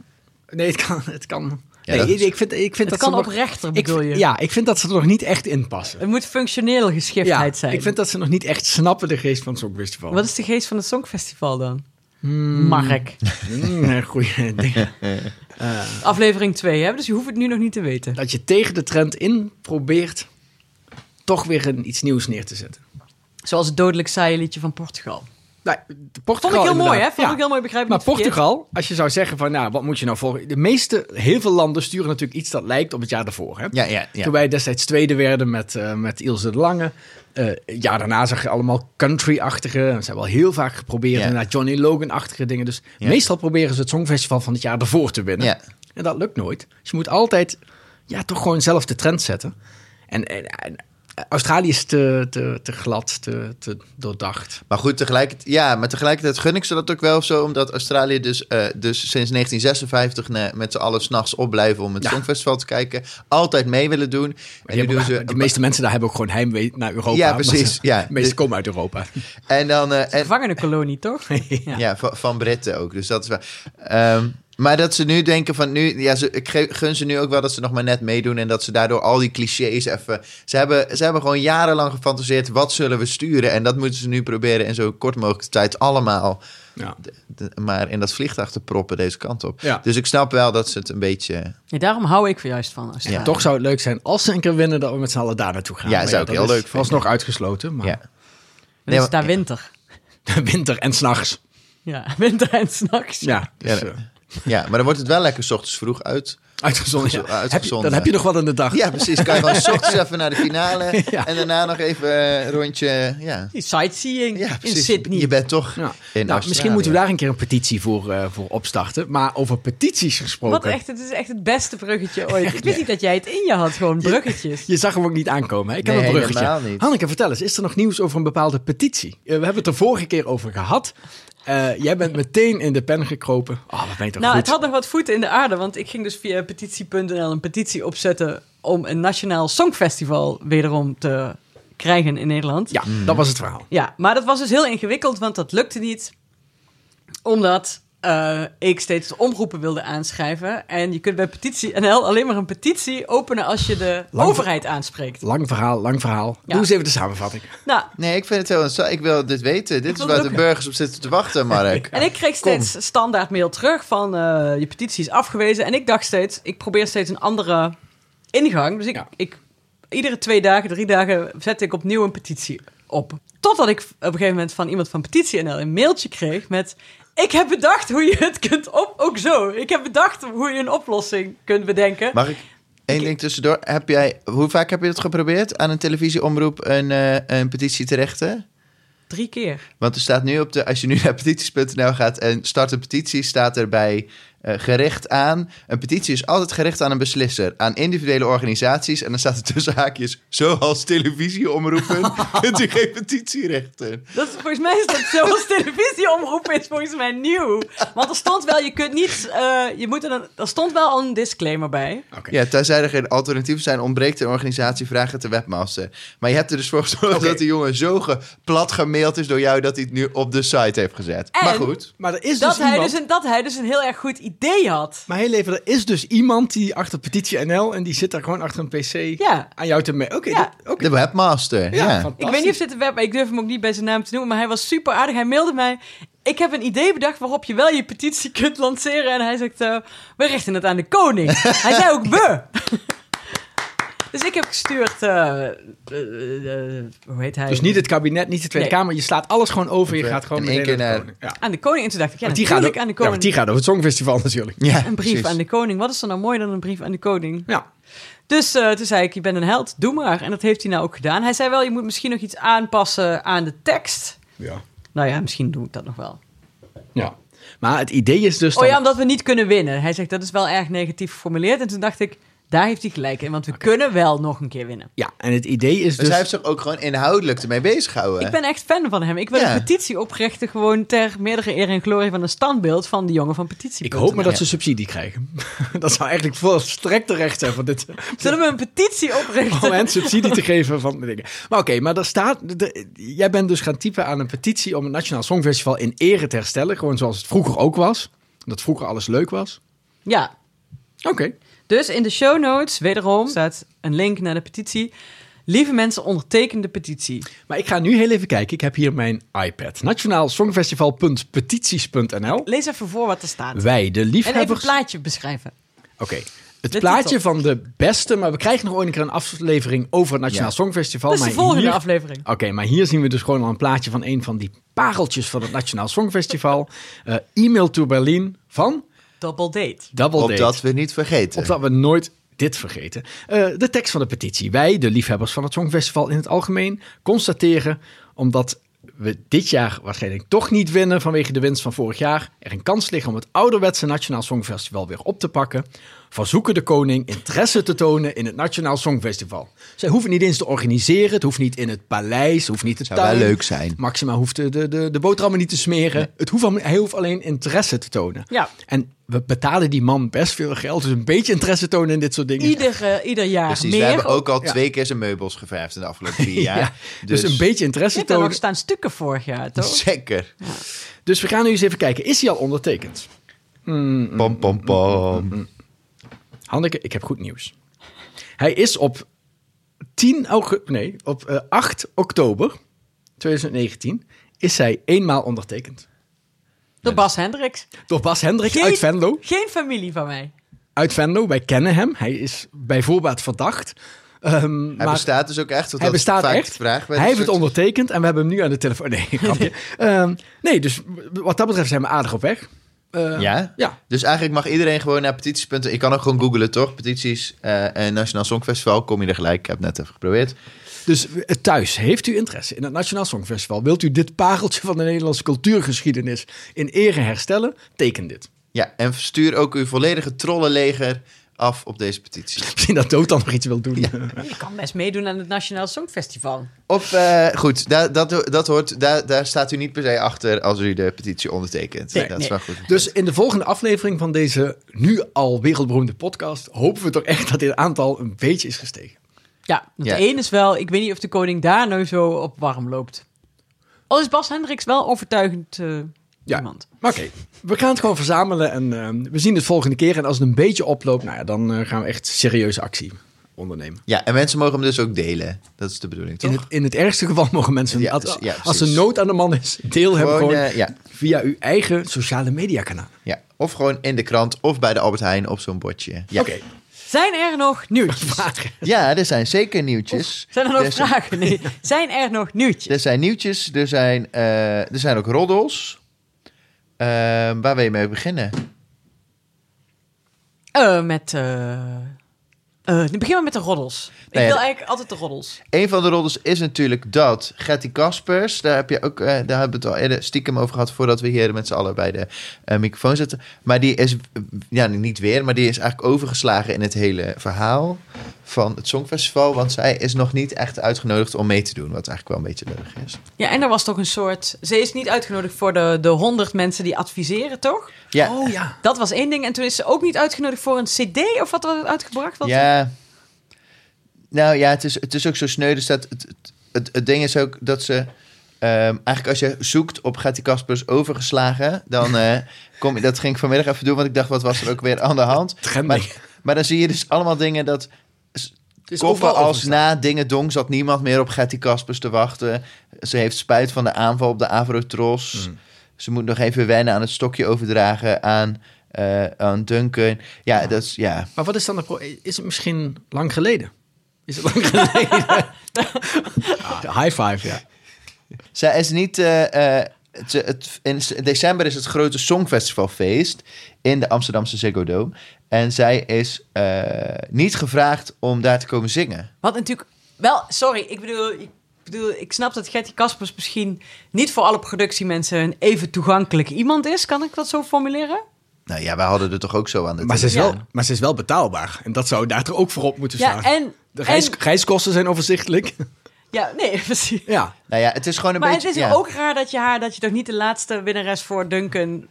[SPEAKER 3] Nee, het kan... Het kan.
[SPEAKER 4] Ja,
[SPEAKER 3] nee,
[SPEAKER 4] dat is-
[SPEAKER 3] ik vind, ik vind
[SPEAKER 1] Het
[SPEAKER 3] dat
[SPEAKER 1] kan
[SPEAKER 3] ze nog-
[SPEAKER 1] oprechter,
[SPEAKER 3] ik,
[SPEAKER 1] bedoel je?
[SPEAKER 3] Ja, ik vind dat ze er nog niet echt in passen.
[SPEAKER 1] Het moet functioneel geschiktheid zijn.
[SPEAKER 3] ik vind dat ze nog niet echt snappen de geest van het Songfestival.
[SPEAKER 1] Wat is de geest van het Songfestival dan?
[SPEAKER 3] Hmm.
[SPEAKER 1] Mark.
[SPEAKER 3] Mm, goeie dingen.
[SPEAKER 1] Aflevering 2, hè? dus je hoeft het nu nog niet te weten.
[SPEAKER 3] dat je tegen de trend in probeert toch weer een, iets nieuws neer te zetten.
[SPEAKER 1] Zoals het dodelijk saaie liedje van Portugal.
[SPEAKER 3] Nou, de Portugal,
[SPEAKER 1] Vond ik heel mooi, hè?
[SPEAKER 3] inderdaad.
[SPEAKER 1] Vond ik heel mooi, begrijp ik
[SPEAKER 3] Maar
[SPEAKER 1] niet verkeerd.
[SPEAKER 3] Portugal, als je zou zeggen van, nou, wat moet je nou volgen? De meeste, heel veel landen sturen natuurlijk iets dat lijkt op het jaar daarvoor, hè?
[SPEAKER 4] Ja, ja, ja.
[SPEAKER 3] Toen wij destijds tweede werden met, eh, met Ilse de Lange. eh ja, daarna zag je allemaal country-achtige. Ze hebben al heel vaak geprobeerd
[SPEAKER 4] Ja.
[SPEAKER 3] naar Johnny Logan-achtige dingen. Dus
[SPEAKER 4] Ja.
[SPEAKER 3] meestal proberen ze het Songfestival van het jaar ervoor te winnen.
[SPEAKER 4] Ja.
[SPEAKER 3] En dat lukt nooit. Dus je moet altijd ja, toch gewoon zelf de trend zetten. En, en, en Australië is te, te, te glad, te, te doordacht.
[SPEAKER 4] Maar goed, tegelijkertijd, ja, maar tegelijkertijd gun ik ze dat ook wel of zo. Omdat Australië dus, eh, dus sinds 1956 ne- eh, met z'n allen s'nachts opblijven om het
[SPEAKER 3] Ja.
[SPEAKER 4] Songfestival te kijken. Altijd mee willen doen.
[SPEAKER 3] En die
[SPEAKER 4] doen
[SPEAKER 3] hebben- de meeste mensen daar hebben ook gewoon heimwee naar Europa.
[SPEAKER 4] Ja,
[SPEAKER 3] Maar
[SPEAKER 4] precies, ja.
[SPEAKER 3] De meeste
[SPEAKER 4] Dus-
[SPEAKER 3] komen uit Europa.
[SPEAKER 4] En dan... eh, en,
[SPEAKER 1] Gevangenenkolonie, toch?
[SPEAKER 4] ja, van, van Britten ook. Dus dat is wel... ehm, Maar dat ze nu denken van nu, ja, ze, ik ge- gun ze nu ook wel dat ze nog maar net meedoen en dat ze daardoor al die clichés even. Ze hebben, ze hebben gewoon jarenlang gefantaseerd wat zullen we sturen en dat moeten ze nu proberen in zo kort mogelijk tijd allemaal
[SPEAKER 3] Ja.
[SPEAKER 4] de- maar in dat vliegtuig te proppen deze kant op.
[SPEAKER 3] Ja.
[SPEAKER 4] Dus ik snap wel dat ze het een beetje.
[SPEAKER 1] Ja, daarom hou ik er juist van. Als het
[SPEAKER 4] Ja,
[SPEAKER 1] ware.
[SPEAKER 3] Toch zou het leuk zijn als ze een keer winnen dat we met z'n allen daar naartoe gaan.
[SPEAKER 4] Ja,
[SPEAKER 3] Maar
[SPEAKER 4] zou ik
[SPEAKER 3] dat
[SPEAKER 4] heel
[SPEAKER 3] is
[SPEAKER 4] leuk vinden.
[SPEAKER 3] Alsnog uitgesloten, maar
[SPEAKER 4] Ja.
[SPEAKER 1] Dan is
[SPEAKER 4] Nee,
[SPEAKER 1] het daar
[SPEAKER 4] maar-
[SPEAKER 1] winter.
[SPEAKER 3] winter en s'nachts.
[SPEAKER 1] Ja, winter en s'nachts.
[SPEAKER 3] Ja, dus,
[SPEAKER 4] Ja,
[SPEAKER 3] eh,
[SPEAKER 4] ja, maar dan wordt het wel lekker 's ochtends vroeg uit.
[SPEAKER 3] uitgezonden.
[SPEAKER 4] Zo,
[SPEAKER 3] ja.
[SPEAKER 4] uitgezonden.
[SPEAKER 3] Heb je, dan heb je nog wat aan de dag.
[SPEAKER 4] Ja, precies. Kan je gewoon 's ochtends even naar de finale
[SPEAKER 3] Ja.
[SPEAKER 4] en daarna nog even eh, een rondje. Ja.
[SPEAKER 1] Die sightseeing
[SPEAKER 4] Ja,
[SPEAKER 1] in
[SPEAKER 4] precies.
[SPEAKER 1] Sydney.
[SPEAKER 4] Je bent toch
[SPEAKER 3] Ja.
[SPEAKER 4] in
[SPEAKER 3] Nou,
[SPEAKER 4] Australië.
[SPEAKER 3] misschien moeten we daar een keer een petitie voor, eh, voor opstarten. Maar over petities gesproken.
[SPEAKER 1] Wat echt, het is echt het beste bruggetje ooit. ik wist niet dat jij het in je had, gewoon bruggetjes.
[SPEAKER 3] Je zag hem ook niet aankomen. Hè? Ik heb
[SPEAKER 4] Nee,
[SPEAKER 3] een bruggetje.
[SPEAKER 4] helemaal niet.
[SPEAKER 3] Hanneke, vertel eens, is er nog nieuws over een bepaalde petitie? Eh, we hebben het er vorige keer over gehad. Eh, jij bent meteen in de pen gekropen. Oh, wat ben je toch
[SPEAKER 1] Nou,
[SPEAKER 3] goed.
[SPEAKER 1] het had nog wat voeten in de aarde, want ik ging dus via petitie.nl een petitie opzetten om een nationaal songfestival wederom te krijgen in Nederland.
[SPEAKER 3] Ja,
[SPEAKER 4] Hmm.
[SPEAKER 3] dat was het verhaal.
[SPEAKER 1] Ja, maar dat was dus heel ingewikkeld, want dat lukte niet. Omdat eh, ik steeds de omroepen wilde aanschrijven. En je kunt bij petitie NL alleen maar een petitie openen als je de
[SPEAKER 3] Lang-
[SPEAKER 1] overheid aanspreekt.
[SPEAKER 3] Lang verhaal, lang verhaal.
[SPEAKER 1] Ja.
[SPEAKER 3] Doe eens even de samenvatting.
[SPEAKER 1] Nou,
[SPEAKER 4] Nee, ik vind het heel interessant. Ik wil dit weten. Dit is
[SPEAKER 1] wil
[SPEAKER 4] waar
[SPEAKER 1] het
[SPEAKER 4] de
[SPEAKER 1] ook.
[SPEAKER 4] burgers op zitten te wachten, Mark.
[SPEAKER 1] en ik kreeg steeds standaard mail terug van eh, je petitie is afgewezen. En ik dacht steeds, ik probeer steeds een andere ingang. Dus ik,
[SPEAKER 3] Ja.
[SPEAKER 1] ik iedere twee dagen, drie dagen zette ik opnieuw een petitie op. Totdat ik op een gegeven moment van iemand van Petitie NL een mailtje kreeg met... Ik heb bedacht hoe je het kunt op... Ook zo. Ik heb bedacht hoe je een oplossing kunt bedenken.
[SPEAKER 4] Mag ik één ding tussendoor? Heb jij, hoe vaak heb je het geprobeerd aan een televisieomroep een, eh, een petitie te rechten?
[SPEAKER 1] Drie keer.
[SPEAKER 4] Want er staat nu op de, als je nu naar petities.nl gaat en start een petitie, staat erbij eh gericht aan. Een petitie is altijd gericht aan een beslisser, aan individuele organisaties. En dan staat er tussen haakjes, zoals televisieomroepen, kunt u geen petitierechten.
[SPEAKER 1] Dat is, volgens mij is dat zoals televisieomroepen is volgens mij nieuw. Want er stond wel, je kunt niet... eh, je moet er, een- er stond wel al een disclaimer bij.
[SPEAKER 4] Ja, tenzij er geen alternatieven zijn, ontbreekt een organisatie vragen te webmaster. Maar je hebt er dus voor gezorgd
[SPEAKER 3] Oké.
[SPEAKER 4] dat die jongen zo ge- plat gemaild is door jou dat hij het nu op de site heeft gezet.
[SPEAKER 1] En-
[SPEAKER 4] maar goed.
[SPEAKER 3] Maar er is
[SPEAKER 1] Dat,
[SPEAKER 3] dus
[SPEAKER 1] hij
[SPEAKER 3] iemand...
[SPEAKER 1] dus een, dat hij dus een heel erg goed idee had.
[SPEAKER 3] Maar heel even, er is dus iemand die achter petitie NL... en die zit daar gewoon achter een pc
[SPEAKER 1] Ja.
[SPEAKER 3] aan jou te... me- Oké,
[SPEAKER 1] Ja.
[SPEAKER 3] dit- oké.
[SPEAKER 4] De webmaster. Ja,
[SPEAKER 3] Ja,
[SPEAKER 1] Ik
[SPEAKER 3] fantastisch.
[SPEAKER 1] weet niet of dit een web, maar ik durf hem ook niet bij zijn naam te noemen. Maar hij was super aardig. Hij mailde mij. Ik heb een idee bedacht waarop je wel je petitie kunt lanceren. En hij zegt, eh, we richten het aan de koning. hij zei ook we. dus ik heb gestuurd, eh, eh, eh, hoe heet hij?
[SPEAKER 3] Dus niet het kabinet, niet de Tweede
[SPEAKER 1] Nee.
[SPEAKER 3] Kamer. Je slaat alles gewoon over. Je
[SPEAKER 4] Even
[SPEAKER 3] gaat gewoon
[SPEAKER 4] in één
[SPEAKER 3] meteen
[SPEAKER 4] keer
[SPEAKER 3] naar de
[SPEAKER 4] naar-
[SPEAKER 3] koning. Ja.
[SPEAKER 1] Aan de koning. En toen dacht ik, ja,
[SPEAKER 3] Want die gaat,
[SPEAKER 1] natuurlijk
[SPEAKER 3] ook-
[SPEAKER 1] aan de
[SPEAKER 3] ja, want
[SPEAKER 1] koning.
[SPEAKER 3] die gaat over het Songfestival natuurlijk.
[SPEAKER 4] Ja,
[SPEAKER 1] een brief
[SPEAKER 4] precies.
[SPEAKER 1] aan de koning. Wat is er nou mooier dan een brief aan de koning?
[SPEAKER 3] Ja.
[SPEAKER 1] Dus eh, toen zei ik, je bent een held, doe maar. En dat heeft hij nou ook gedaan. Hij zei wel, je moet misschien nog iets aanpassen aan de tekst.
[SPEAKER 3] Ja.
[SPEAKER 1] Nou ja, misschien doe ik dat nog wel.
[SPEAKER 3] ja. Maar het idee is dus...
[SPEAKER 1] Oh ja,
[SPEAKER 3] dan-
[SPEAKER 1] omdat we niet kunnen winnen. Hij zegt dat is wel erg negatief geformuleerd. En toen dacht ik, daar heeft hij gelijk in, want we kunnen wel nog een keer winnen.
[SPEAKER 3] Ja, en het idee is
[SPEAKER 4] Dus
[SPEAKER 3] dus...
[SPEAKER 4] hij heeft zich ook gewoon inhoudelijk ermee bezig gehouden.
[SPEAKER 1] Ik ben echt fan van hem. Ik wil
[SPEAKER 4] Ja.
[SPEAKER 1] een petitie oprichten, gewoon ter meerdere eer en glorie van een standbeeld van de jongen van petitie.
[SPEAKER 3] Ik hoop maar dat
[SPEAKER 4] Ja.
[SPEAKER 3] ze subsidie krijgen. dat zou eigenlijk volstrekt terecht zijn van dit
[SPEAKER 1] Zullen we een petitie
[SPEAKER 3] om
[SPEAKER 1] oprichten?
[SPEAKER 3] hen subsidie te geven van de dingen. Maar oké, maar daar staat... de- jij bent dus gaan typen aan een petitie om het Nationaal Songfestival in ere te herstellen. Gewoon zoals het vroeger ook was. Dat vroeger alles leuk was.
[SPEAKER 1] Ja,
[SPEAKER 3] Oké.
[SPEAKER 1] dus in de show notes, wederom, staat een link naar de petitie. Lieve mensen, onderteken de petitie.
[SPEAKER 3] Maar ik ga nu heel even kijken. Ik heb hier mijn iPad. Nationaal Songfestival.petities.nl
[SPEAKER 1] Lees even voor wat er staat. Oh
[SPEAKER 3] Wij, de
[SPEAKER 1] En even een
[SPEAKER 3] liefhebbers...
[SPEAKER 1] plaatje beschrijven.
[SPEAKER 3] Oké. Het
[SPEAKER 1] De
[SPEAKER 3] plaatje
[SPEAKER 1] titel.
[SPEAKER 3] van de beste, maar we krijgen nog ooit een keer een aflevering over het Nationaal
[SPEAKER 4] Ja.
[SPEAKER 3] Songfestival.
[SPEAKER 1] Dat is de
[SPEAKER 3] maar
[SPEAKER 1] volgende
[SPEAKER 3] hier-
[SPEAKER 1] aflevering.
[SPEAKER 3] Oké, maar hier zien we dus gewoon al een plaatje van een van die pareltjes van het Nationaal Songfestival. Eh, E-mail to Berlin van
[SPEAKER 1] Double date.
[SPEAKER 3] Double Date.
[SPEAKER 4] Opdat we niet vergeten.
[SPEAKER 3] Opdat we nooit dit vergeten. Eh, de tekst van de petitie. Wij, de liefhebbers van het Songfestival in het algemeen, constateren omdat we dit jaar waarschijnlijk toch niet winnen vanwege de winst van vorig jaar, er een kans ligt om het ouderwetse Nationaal Songfestival weer op te pakken, verzoeken de koning interesse te tonen in het Nationaal Songfestival. Zij hoeven niet eens te organiseren, het hoeft niet in het paleis, het hoeft niet te
[SPEAKER 4] Zou wel leuk zijn.
[SPEAKER 3] Maxima hoeft de, de, de, de boterhammen niet te smeren. Het hoeft allemaal- hij hoeft alleen interesse te tonen.
[SPEAKER 1] Ja.
[SPEAKER 3] En we betalen die man best veel geld. Dus een beetje interesse tonen in dit soort dingen.
[SPEAKER 1] Ieder, eh, ieder jaar
[SPEAKER 4] Precies,
[SPEAKER 1] meer. Oh,
[SPEAKER 4] we Dus hebben ook al
[SPEAKER 3] Ja.
[SPEAKER 4] twee keer zijn meubels geverfd in de afgelopen vier
[SPEAKER 3] Ja,
[SPEAKER 4] jaar.
[SPEAKER 3] dus, een beetje
[SPEAKER 1] Je
[SPEAKER 3] interesse
[SPEAKER 1] hebt daar nog
[SPEAKER 3] tonen.
[SPEAKER 1] staan stukken vorig jaar, toch?
[SPEAKER 4] Zeker.
[SPEAKER 3] Dus we gaan nu eens even kijken. Is hij al ondertekend? Mm,
[SPEAKER 4] Pam, pam, pam.
[SPEAKER 3] Hanneke, ik heb goed nieuws. Hij is op 10 augustus, nee, op eh, 8 oktober 2019 is hij eenmaal ondertekend.
[SPEAKER 1] Door Bas Hendricks.
[SPEAKER 3] Door Bas Hendrik
[SPEAKER 1] Geen-
[SPEAKER 3] uit Venlo.
[SPEAKER 1] Geen familie van mij.
[SPEAKER 3] Uit Venlo, wij kennen hem. Hij is bij voorbaat verdacht. Ehm,
[SPEAKER 4] Hij
[SPEAKER 3] maar-
[SPEAKER 4] bestaat dus ook echt. want
[SPEAKER 3] Hij
[SPEAKER 4] dat is
[SPEAKER 3] bestaat
[SPEAKER 4] vaak
[SPEAKER 3] echt.
[SPEAKER 4] de Vraag bij
[SPEAKER 3] Hij heeft
[SPEAKER 4] dit
[SPEAKER 3] het
[SPEAKER 4] soort-
[SPEAKER 3] ondertekend en we hebben hem nu aan de telefoon. Nee, grapje. Ehm, nee, dus wat dat betreft zijn we aardig op weg. Eh,
[SPEAKER 4] Ja?
[SPEAKER 3] Ja.
[SPEAKER 4] Dus eigenlijk mag iedereen gewoon naar petities.nl. Ik kan ook gewoon googlen, toch? Petities eh, en Nationaal Songfestival. Kom je er gelijk. Ik heb het net even geprobeerd.
[SPEAKER 3] Dus eh, thuis, heeft u interesse in het Nationaal Songfestival? Wilt u dit pareltje van de Nederlandse cultuurgeschiedenis in ere herstellen? Teken dit.
[SPEAKER 4] Ja, en stuur ook uw volledige trollenleger af op deze petitie.
[SPEAKER 3] Misschien dat Dood dan nog iets wil doen.
[SPEAKER 1] Je kan best meedoen aan het Nationaal Songfestival.
[SPEAKER 4] Of, eh, goed, daar, dat, dat hoort, daar, daar staat u niet per se achter als u de petitie ondertekent.
[SPEAKER 1] Nee,
[SPEAKER 4] dat
[SPEAKER 1] nee.
[SPEAKER 4] is wel goed.
[SPEAKER 3] Dus in de volgende aflevering van deze nu al wereldberoemde podcast hopen we toch echt dat dit aantal een beetje is gestegen.
[SPEAKER 1] Ja, want
[SPEAKER 4] Ja.
[SPEAKER 1] de een is wel, ik weet niet of de koning daar nou zo op warm loopt. Al is Bas Hendricks wel overtuigend eh,
[SPEAKER 3] Ja.
[SPEAKER 1] iemand.
[SPEAKER 3] Maar oké, we gaan het gewoon verzamelen en ehm, we zien het volgende keer. En als het een beetje oploopt, nou ja, dan eh, gaan we echt serieuze actie ondernemen.
[SPEAKER 4] Ja, en mensen mogen hem dus ook delen. Dat is de bedoeling, toch?
[SPEAKER 3] In het, in het ergste geval mogen mensen,
[SPEAKER 4] Ja,
[SPEAKER 3] als,
[SPEAKER 4] dus- ja,
[SPEAKER 3] als er
[SPEAKER 4] precies.
[SPEAKER 3] nood aan de man is, deel hem gewoon
[SPEAKER 4] eh, ja,
[SPEAKER 3] via uw eigen sociale mediakanalen.
[SPEAKER 4] ja. Of gewoon in de krant of bij de Albert Heijn op zo'n bordje. Ja.
[SPEAKER 3] Oké,
[SPEAKER 1] Zijn er nog nieuwtjes?
[SPEAKER 4] ja, er zijn zeker nieuwtjes.
[SPEAKER 1] Zijn er nog
[SPEAKER 4] Er zijn-
[SPEAKER 1] vragen? Nee. Zijn er nog nieuwtjes?
[SPEAKER 4] Er zijn nieuwtjes, er zijn, eh, er zijn ook roddels. Eh, waar wil je mee beginnen?
[SPEAKER 1] Eh, met. eh eh, begin maar met de roddels.
[SPEAKER 4] Nee,
[SPEAKER 1] ik wil
[SPEAKER 4] de-
[SPEAKER 1] eigenlijk altijd de roddels.
[SPEAKER 4] Een van de roddels is natuurlijk dat Gertie Kaspers, daar, heb je ook, eh, daar hebben we het al eerder stiekem over gehad voordat we hier met z'n allen bij de eh, microfoon zitten. Maar die is, eh, ja niet weer, maar die is eigenlijk overgeslagen in het hele verhaal van het Songfestival. Want zij is nog niet echt uitgenodigd om mee te doen, wat eigenlijk wel een beetje lullig is.
[SPEAKER 1] Ja, en er was toch een soort. Ze is niet uitgenodigd voor de, de 100 mensen die adviseren, toch?
[SPEAKER 4] Ja,
[SPEAKER 3] Oh ja.
[SPEAKER 1] Dat was één ding. En toen is ze ook niet uitgenodigd voor een CD of wat was uitgebracht? Wat
[SPEAKER 4] Ja. Nou ja, het is, het is ook zo sneu. Dus dat, het, het, het, het ding is ook dat ze... ehm, eigenlijk als je zoekt op gaat die Kaspers overgeslagen... dan eh, kom je... Dat ging ik vanmiddag even doen, want ik dacht... wat was er ook weer aan de hand?
[SPEAKER 3] Trending.
[SPEAKER 4] Maar, maar dan zie je dus allemaal dingen dat...
[SPEAKER 3] Het is
[SPEAKER 4] Koppen
[SPEAKER 3] Dus overal
[SPEAKER 4] als
[SPEAKER 3] overstaan.
[SPEAKER 4] na Dingedong zat niemand meer op Getty Kaspers te wachten. Ze heeft spijt van de aanval op de Avrotros. Ze moet nog even wennen aan het stokje overdragen aan, eh, aan Duncan. Ja, dat is... Ja.
[SPEAKER 3] Maar wat is dan de pro- Is het misschien lang geleden? Is het lang geleden? Ah, high five, ja.
[SPEAKER 4] Zij is niet. eh, eh, het, het- in s- december is het grote Songfestivalfeest in de Amsterdamse Ziggo Dome. En zij is eh, niet gevraagd om daar te komen zingen.
[SPEAKER 1] Wat natuurlijk wel, sorry, ik bedoel, ik bedoel, ik snap dat Gertie Kaspers misschien niet voor alle productiemensen een even toegankelijk iemand is. Kan ik dat zo formuleren?
[SPEAKER 4] Nou ja, wij hadden er toch ook zo aan de
[SPEAKER 3] Maar ze, is
[SPEAKER 1] Ja.
[SPEAKER 3] wel, maar ze is wel betaalbaar. En dat zou daar toch ook voor op moeten staan.
[SPEAKER 1] Ja, en,
[SPEAKER 3] de reis,
[SPEAKER 1] en-
[SPEAKER 3] reiskosten zijn overzichtelijk.
[SPEAKER 1] ja, nee, precies.
[SPEAKER 3] ja.
[SPEAKER 4] Nou ja, het is gewoon een
[SPEAKER 1] Maar het
[SPEAKER 4] beetje.
[SPEAKER 1] is
[SPEAKER 4] ja.
[SPEAKER 1] ook raar dat je haar, dat je toch niet de laatste winnares voor Duncan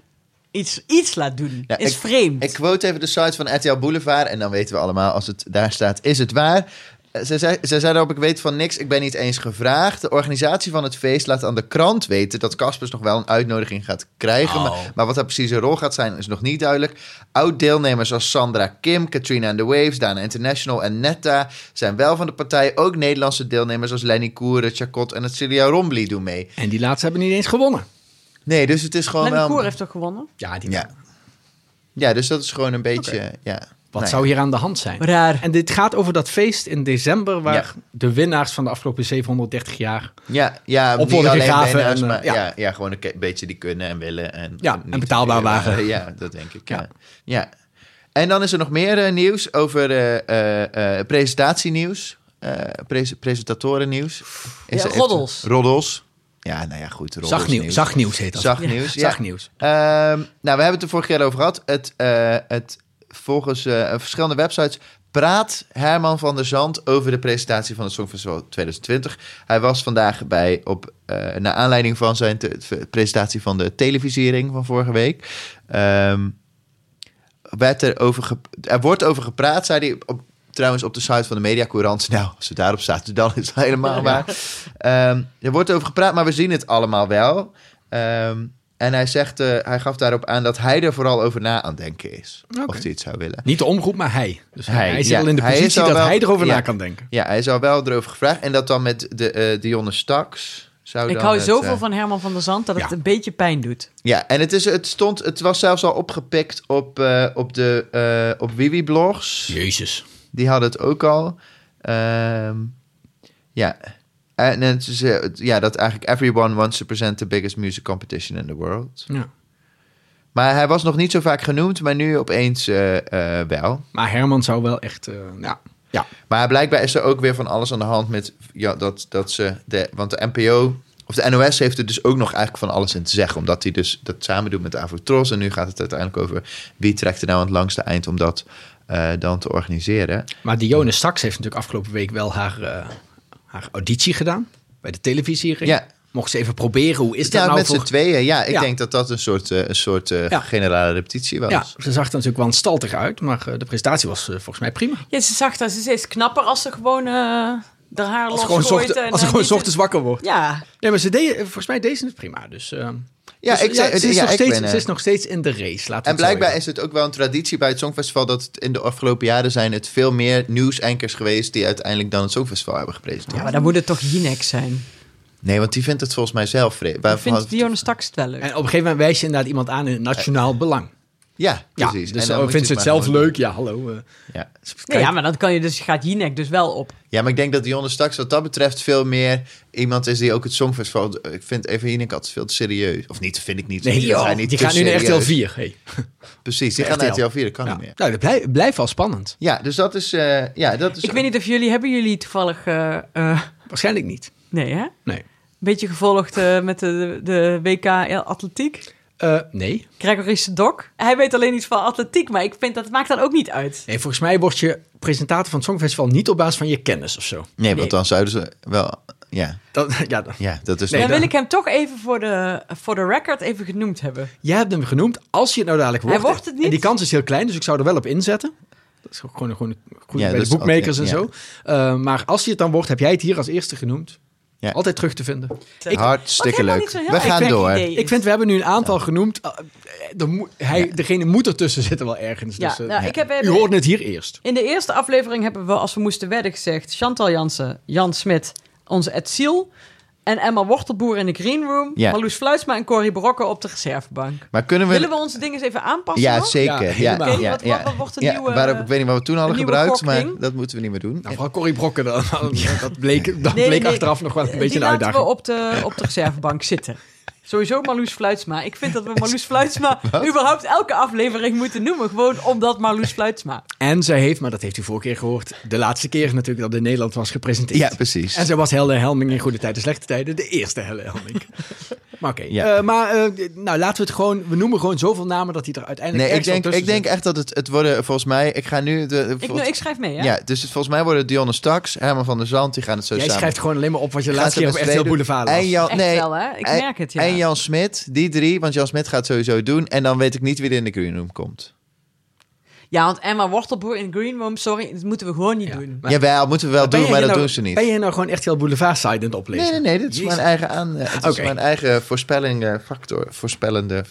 [SPEAKER 1] iets, iets laat doen.
[SPEAKER 4] Ja,
[SPEAKER 1] is
[SPEAKER 4] ik-
[SPEAKER 1] vreemd.
[SPEAKER 4] Ik quote even de site van RTL Boulevard. En dan weten we allemaal, als het daar staat, is het waar. Eh, Ze zei, ze zei daarop, ik weet van niks, ik ben niet eens gevraagd. De organisatie van het feest laat aan de krant weten... dat Caspers nog wel een uitnodiging gaat krijgen.
[SPEAKER 3] Oh.
[SPEAKER 4] Maar, maar wat daar precies zijn rol gaat zijn, is nog niet duidelijk. Oud-deelnemers als Sandra Kim, Katrina and the Waves... Dana International en Netta zijn wel van de partij. Ook Nederlandse deelnemers als Lenny Koeren, Chacot en het Celia Rombly doen mee.
[SPEAKER 3] En die laatste hebben niet eens gewonnen.
[SPEAKER 4] Nee, dus het is gewoon
[SPEAKER 1] Lenny
[SPEAKER 4] wel...
[SPEAKER 1] Koer heeft toch gewonnen?
[SPEAKER 3] Ja, die
[SPEAKER 4] Ja. ja, dus dat is gewoon een beetje... Ja.
[SPEAKER 3] Wat
[SPEAKER 4] Nou ja.
[SPEAKER 3] zou hier aan de hand zijn?
[SPEAKER 1] Raar.
[SPEAKER 3] En dit gaat over dat feest in december... waar
[SPEAKER 4] Ja.
[SPEAKER 3] de winnaars van de afgelopen 730 jaar...
[SPEAKER 4] Ja, ja
[SPEAKER 3] Op
[SPEAKER 4] niet
[SPEAKER 3] worden
[SPEAKER 4] alleen
[SPEAKER 3] gegraven
[SPEAKER 4] winnaars,
[SPEAKER 3] en,
[SPEAKER 4] maar
[SPEAKER 3] eh,
[SPEAKER 4] ja.
[SPEAKER 3] ja.
[SPEAKER 4] Ja, gewoon een ke- beetje die kunnen en willen. En,
[SPEAKER 3] Ja,
[SPEAKER 4] niet
[SPEAKER 3] en betaalbaar
[SPEAKER 4] te duur
[SPEAKER 3] waren.
[SPEAKER 4] Ja, dat denk ik. Ja. Ja.
[SPEAKER 3] Ja.
[SPEAKER 4] En dan is er nog meer eh, nieuws over eh, eh, eh, presentatienieuws. eh pres presentatorennieuws. Is
[SPEAKER 1] Ja,
[SPEAKER 4] er-
[SPEAKER 1] roddels.
[SPEAKER 4] Roddels. Ja, nou ja, goed. Roddels
[SPEAKER 3] Zachtnieuws, zachtnieuws heet dat.
[SPEAKER 4] Zacht nieuws, ja.
[SPEAKER 3] Zachtnieuws.
[SPEAKER 4] Ehm, nou, we hebben het er vorige keer over gehad. Het, eh, het, volgens eh, verschillende websites praat Herman van der Zand over de presentatie van het Songfestival 2020. Hij was vandaag bij, op, eh naar aanleiding van zijn te- v- presentatie van de televisiering van vorige week. Ehm, werd er, over ge- er wordt over gepraat, zei hij. Op, trouwens, op de site van de Mediacourant. Nou, als het daarop staat, dan is het helemaal waar. Ehm, er wordt over gepraat, maar we zien het allemaal wel. Ehm, En hij, zegt, eh, hij gaf daarop aan dat hij er vooral over na aan het denken is.
[SPEAKER 3] Oké.
[SPEAKER 4] Of hij het zou willen.
[SPEAKER 3] Niet de omroep, maar hij. Dus hij,
[SPEAKER 4] Hij,
[SPEAKER 3] hij zit
[SPEAKER 4] ja.
[SPEAKER 3] al in de
[SPEAKER 4] Hij is
[SPEAKER 3] positie
[SPEAKER 4] al
[SPEAKER 3] dat
[SPEAKER 4] wel-
[SPEAKER 3] hij erover
[SPEAKER 4] ja.
[SPEAKER 3] na kan denken.
[SPEAKER 4] Ja, hij zou wel erover gevraagd. En dat dan met de, eh Dionne Staks. Zou
[SPEAKER 1] Ik
[SPEAKER 4] dan
[SPEAKER 1] hou
[SPEAKER 4] het,
[SPEAKER 1] zoveel
[SPEAKER 4] eh,
[SPEAKER 1] van Herman van der Zand dat het
[SPEAKER 3] ja.
[SPEAKER 1] een beetje pijn doet.
[SPEAKER 4] Ja, en het, is, het, stond, het was zelfs al opgepikt op, eh, op, de, eh op Wiwi-blogs.
[SPEAKER 3] Jezus.
[SPEAKER 4] Die hadden het ook al. Ehm, ja. En het is, eh, het- ja, dat eigenlijk everyone wants to present the biggest music competition in the world.
[SPEAKER 3] Ja.
[SPEAKER 4] Maar hij was nog niet zo vaak genoemd, maar nu opeens eh, eh, wel.
[SPEAKER 3] Maar Herman zou wel echt... eh, ja. ja.
[SPEAKER 4] Maar blijkbaar is er ook weer van alles aan de hand met ja, dat, dat ze. De, want de NPO. Of de NOS heeft er dus ook nog eigenlijk van alles in te zeggen. Omdat hij dus dat samen doet met Avotros. En nu gaat het uiteindelijk over wie trekt er nou aan het langste eind om dat eh, dan te organiseren.
[SPEAKER 3] Maar Dionne Saks heeft natuurlijk afgelopen week wel haar, eh, haar auditie gedaan. Bij de televisie.
[SPEAKER 4] Ja.
[SPEAKER 3] Mocht ze even proberen, hoe is dat
[SPEAKER 4] ja,
[SPEAKER 3] nou
[SPEAKER 4] met
[SPEAKER 3] voor...
[SPEAKER 4] z'n tweeën. Ja, ik
[SPEAKER 3] Ja.
[SPEAKER 4] denk dat dat een soort, eh, een soort eh,
[SPEAKER 3] Ja.
[SPEAKER 4] generale repetitie was.
[SPEAKER 3] Ja, ze zag er natuurlijk wel anstaltig uit, maar eh, de presentatie was eh, volgens mij prima.
[SPEAKER 1] Ja, ze zag dat ze steeds knapper als ze gewoon eh haar haar
[SPEAKER 3] Als ze gewoon,
[SPEAKER 1] losgooit
[SPEAKER 3] zocht,
[SPEAKER 1] en,
[SPEAKER 3] als
[SPEAKER 1] eh,
[SPEAKER 3] ze gewoon
[SPEAKER 1] niet-
[SPEAKER 3] ochtends wakker wordt.
[SPEAKER 1] Ja,
[SPEAKER 3] Nee, maar ze deden, eh, volgens mij deed ze het prima. Dus, eh,
[SPEAKER 4] Ja,
[SPEAKER 3] dus,
[SPEAKER 4] ik zei-
[SPEAKER 3] ze, is
[SPEAKER 4] ja,
[SPEAKER 3] nog
[SPEAKER 4] ik
[SPEAKER 3] steeds,
[SPEAKER 4] ben, eh,
[SPEAKER 3] ze is nog steeds in de race. Laten we
[SPEAKER 4] En
[SPEAKER 3] het zo
[SPEAKER 4] blijkbaar
[SPEAKER 3] zeggen.
[SPEAKER 4] is het ook wel een traditie bij het Songfestival... dat het in de afgelopen jaren zijn het veel meer nieuwsankers geweest... die uiteindelijk dan het Songfestival hebben gepresenteerd.
[SPEAKER 1] ja maar dan moet het toch Jinek zijn.
[SPEAKER 4] Nee, want die vindt het volgens mij zelf... vre- waarvan-
[SPEAKER 1] Ik vind Dionne Staks het wel leuk.
[SPEAKER 3] En op een gegeven moment wijs je inderdaad iemand aan in het nationaal belang.
[SPEAKER 4] Ja,
[SPEAKER 3] Ja,
[SPEAKER 4] Eh, precies.
[SPEAKER 3] dus
[SPEAKER 4] dan
[SPEAKER 3] oh,
[SPEAKER 4] moet
[SPEAKER 3] vindt
[SPEAKER 4] je
[SPEAKER 3] ze het
[SPEAKER 4] maar
[SPEAKER 3] zelf
[SPEAKER 4] gewoon
[SPEAKER 3] leuk? Ja, hallo. eh.
[SPEAKER 4] doen. Ja.
[SPEAKER 1] Nee, ja, maar dan kan je dus, gaat Jinek dus wel op.
[SPEAKER 4] ja, maar ik denk dat Dionne straks wat dat betreft veel meer iemand is... die ook het Songfestival... Ik vind Eva Jinek altijd veel te serieus. Of niet, vind ik niet.
[SPEAKER 3] Nee,
[SPEAKER 4] Dat
[SPEAKER 3] joh,
[SPEAKER 4] hij niet
[SPEAKER 3] die
[SPEAKER 4] te
[SPEAKER 3] gaan nu naar RTL
[SPEAKER 4] serieus-
[SPEAKER 3] 4. Hey.
[SPEAKER 4] Precies, die gaan naar
[SPEAKER 3] RTL.
[SPEAKER 4] RTL 4, dat kan
[SPEAKER 3] Ja.
[SPEAKER 4] niet meer.
[SPEAKER 3] Nou, dat blijft, blijft wel spannend.
[SPEAKER 4] Ja, dus dat is... eh, ja, dat is
[SPEAKER 1] Ik weet niet of jullie, hebben jullie toevallig, eh, eh,
[SPEAKER 3] Waarschijnlijk niet.
[SPEAKER 1] nee hè?
[SPEAKER 3] Nee.
[SPEAKER 1] Beetje gevolgd eh, met de, de WK atletiek.
[SPEAKER 3] Eh, nee.
[SPEAKER 1] Gregory Dok. Hij weet alleen iets van atletiek, maar ik vind dat maakt dan ook niet uit.
[SPEAKER 3] nee. Volgens mij word je presentator van het Songfestival niet op basis van je kennis of zo.
[SPEAKER 4] Nee, want dan zouden ze wel... Ja,
[SPEAKER 3] Dat, ja, dat-
[SPEAKER 4] ja dat is...
[SPEAKER 3] Nee,
[SPEAKER 1] dan
[SPEAKER 3] dat-
[SPEAKER 1] wil ik hem toch even voor de, voor de record even genoemd hebben.
[SPEAKER 3] Jij hebt hem genoemd. Als je het nou dadelijk
[SPEAKER 1] Hij
[SPEAKER 3] wordt.
[SPEAKER 1] wordt het niet.
[SPEAKER 3] En die kans is heel klein, dus ik zou er wel op inzetten. Dat is ook gewoon, gewoon goed bij
[SPEAKER 4] Ja, dat
[SPEAKER 3] de
[SPEAKER 4] is
[SPEAKER 3] boekmakers en zo.
[SPEAKER 4] altijd-
[SPEAKER 3] Eh, maar als je het dan wordt, heb jij het hier als eerste genoemd.
[SPEAKER 4] Ja.
[SPEAKER 3] Altijd terug te vinden.
[SPEAKER 1] Ik-
[SPEAKER 4] Hartstikke
[SPEAKER 1] Wat helemaal
[SPEAKER 4] leuk.
[SPEAKER 1] niet zo'n heel
[SPEAKER 4] We gaan
[SPEAKER 1] gek
[SPEAKER 4] door.
[SPEAKER 1] idee.
[SPEAKER 3] Ik vind, we hebben nu een aantal genoemd. Eh, er moet- hij, Degene moet ertussen zitten wel ergens.
[SPEAKER 1] Ja,
[SPEAKER 3] dus, eh,
[SPEAKER 1] nou, ik heb
[SPEAKER 3] U hoort het hier eerst.
[SPEAKER 1] In de eerste aflevering hebben we, als we moesten wedden, gezegd... Chantal Jansen, Jan Smit, onze Ed Ziel... en Emma Wortelboer in de Green Room...
[SPEAKER 4] Ja.
[SPEAKER 1] Marloes Fluitsma en Corrie Brokken op de reservebank.
[SPEAKER 4] Maar kunnen we...
[SPEAKER 1] Willen we onze dingen eens even aanpassen?
[SPEAKER 4] Ja,
[SPEAKER 1] nog?
[SPEAKER 4] zeker.
[SPEAKER 3] Ja,
[SPEAKER 4] Ja,
[SPEAKER 3] helemaal.
[SPEAKER 4] ja,
[SPEAKER 1] Oké,
[SPEAKER 4] ja,
[SPEAKER 1] wat- wat- wat wordt de
[SPEAKER 4] Ja,
[SPEAKER 1] nieuwe-
[SPEAKER 4] waarom- ik weet niet wat we toen hadden
[SPEAKER 1] de nieuwe
[SPEAKER 4] gebruikt,
[SPEAKER 1] gokking?
[SPEAKER 4] maar dat moeten we niet meer doen.
[SPEAKER 3] Nou, vooral Corrie Brokken, dan, dat bleek, dat
[SPEAKER 1] Nee,
[SPEAKER 3] bleek
[SPEAKER 1] nee,
[SPEAKER 3] achteraf nog wel een
[SPEAKER 1] Die
[SPEAKER 3] beetje een
[SPEAKER 1] laten
[SPEAKER 3] uitdaging.
[SPEAKER 1] we op de, op de reservebank zitten. Sowieso Marloes Fluitsma. Ik vind dat we Marloes Fluitsma überhaupt elke aflevering moeten noemen. Gewoon omdat Marloes Fluitsma.
[SPEAKER 3] En zij heeft, maar dat heeft u vorige keer gehoord, de laatste keer natuurlijk dat in Nederland was gepresenteerd.
[SPEAKER 4] Ja, precies.
[SPEAKER 3] En zij was Helle Helming in goede tijden, slechte tijden, de eerste Helle Helming. maar oké,
[SPEAKER 4] Ja.
[SPEAKER 3] Eh, maar eh, nou, laten we het gewoon, we noemen gewoon zoveel namen dat hij er uiteindelijk
[SPEAKER 4] Nee, ik
[SPEAKER 3] ergens
[SPEAKER 4] denk,
[SPEAKER 3] wel tussen
[SPEAKER 4] ik denk echt dat het, het worden, volgens mij, ik ga nu... De,
[SPEAKER 1] Ik,
[SPEAKER 4] volgens-
[SPEAKER 1] ik schrijf mee,
[SPEAKER 4] ja.
[SPEAKER 1] hè?
[SPEAKER 4] dus het, volgens mij worden Dionne Staks, Herman van der Zand, die gaan het zo
[SPEAKER 3] zit. Jij
[SPEAKER 4] samen...
[SPEAKER 3] schrijft gewoon alleen maar op wat je de
[SPEAKER 4] Gaan
[SPEAKER 3] laatste
[SPEAKER 4] ze
[SPEAKER 3] keer op
[SPEAKER 4] met
[SPEAKER 3] RTL
[SPEAKER 4] tweeën doen.
[SPEAKER 3] Boulevard las.
[SPEAKER 4] En Jan,
[SPEAKER 1] Echt
[SPEAKER 4] nee,
[SPEAKER 1] wel, hè? Ik
[SPEAKER 4] en-
[SPEAKER 1] merk het, ja.
[SPEAKER 4] En Jan Smit, die drie, want Jan Smit gaat sowieso doen. En dan weet ik niet wie er in de green room komt.
[SPEAKER 1] Ja, want Emma Wortelboer in Green Room, sorry, dat moeten we gewoon niet
[SPEAKER 3] Ja.
[SPEAKER 1] doen.
[SPEAKER 3] Maar-
[SPEAKER 4] Jawel, moeten we wel
[SPEAKER 3] Ben
[SPEAKER 4] doen,
[SPEAKER 3] je
[SPEAKER 4] maar dat
[SPEAKER 3] nou-
[SPEAKER 4] doen ze niet.
[SPEAKER 3] Ben je nou gewoon RTL Boulevard site aan het oplezen?
[SPEAKER 4] Nee, nee, nee, dit is
[SPEAKER 3] Jezus.
[SPEAKER 4] mijn eigen, aan, eh, het is
[SPEAKER 3] Oké.
[SPEAKER 4] mijn eigen voorspelling, eh, factor, voorspellende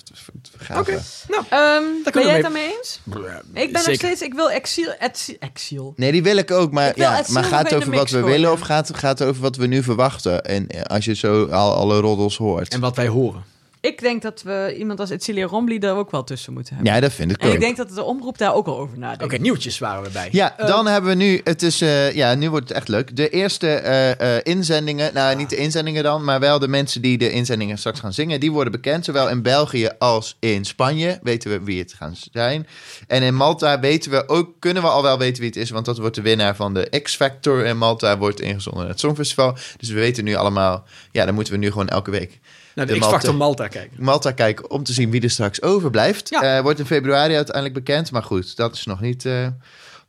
[SPEAKER 4] gave.
[SPEAKER 3] Oké, nou,
[SPEAKER 1] Ehm, ben
[SPEAKER 3] we
[SPEAKER 1] jij het
[SPEAKER 3] mee.
[SPEAKER 1] daarmee eens? Ik ben
[SPEAKER 3] Zeker.
[SPEAKER 1] nog steeds, ik wil exil, exil, exil.
[SPEAKER 4] Nee, die wil ik ook, maar,
[SPEAKER 1] Ik wil
[SPEAKER 4] ja,
[SPEAKER 1] het
[SPEAKER 4] maar
[SPEAKER 1] zo
[SPEAKER 4] gaat het
[SPEAKER 1] bij de
[SPEAKER 4] over wat
[SPEAKER 1] mix
[SPEAKER 4] we
[SPEAKER 1] gooien.
[SPEAKER 4] willen of gaat, gaat het over wat we nu verwachten? En eh, als je zo al alle roddels hoort.
[SPEAKER 3] En wat wij horen.
[SPEAKER 1] Ik denk dat we iemand als Etcilia Romli daar ook wel tussen moeten hebben.
[SPEAKER 4] Ja, dat vind ik
[SPEAKER 1] En ik
[SPEAKER 4] ook.
[SPEAKER 1] denk dat de omroep daar ook al over nadenkt.
[SPEAKER 3] Oké, nieuwtjes waren we bij.
[SPEAKER 4] Ja,
[SPEAKER 3] Eh,
[SPEAKER 4] dan hebben we nu, het is, eh, ja, nu wordt het echt leuk. De eerste eh, eh, inzendingen, nou niet de inzendingen dan, maar wel de mensen die de inzendingen straks gaan zingen, die worden bekend. Zowel in België als in Spanje weten we wie het gaan zijn. En in Malta weten we ook, kunnen we al wel weten wie het is, want dat wordt de winnaar van de X Factor. En Malta wordt ingezonden naar het Songfestival. Dus we weten nu allemaal, ja, dan moeten we nu gewoon elke week
[SPEAKER 3] naar de,
[SPEAKER 4] de
[SPEAKER 3] X-Factor Malta kijken.
[SPEAKER 4] Malta kijken om te zien wie er straks overblijft.
[SPEAKER 3] Ja.
[SPEAKER 4] Eh, wordt in februari uiteindelijk bekend, maar goed, dat is nog niet. eh,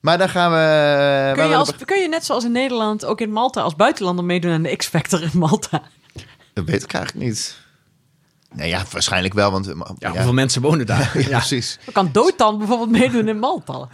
[SPEAKER 4] Maar dan gaan we.
[SPEAKER 1] Kun
[SPEAKER 4] eh, waar
[SPEAKER 1] je,
[SPEAKER 4] we
[SPEAKER 1] als, kun je net zoals in Nederland ook in Malta als buitenlander meedoen aan de X-Factor in Malta?
[SPEAKER 4] Dat weet ik eigenlijk niet. Nou ja, waarschijnlijk wel, want. eh, ma-
[SPEAKER 3] Ja,
[SPEAKER 4] ja.
[SPEAKER 3] hoeveel mensen wonen daar?
[SPEAKER 4] Ja,
[SPEAKER 3] Ja.
[SPEAKER 4] precies.
[SPEAKER 1] Dan kan Dotan bijvoorbeeld meedoen in Malta.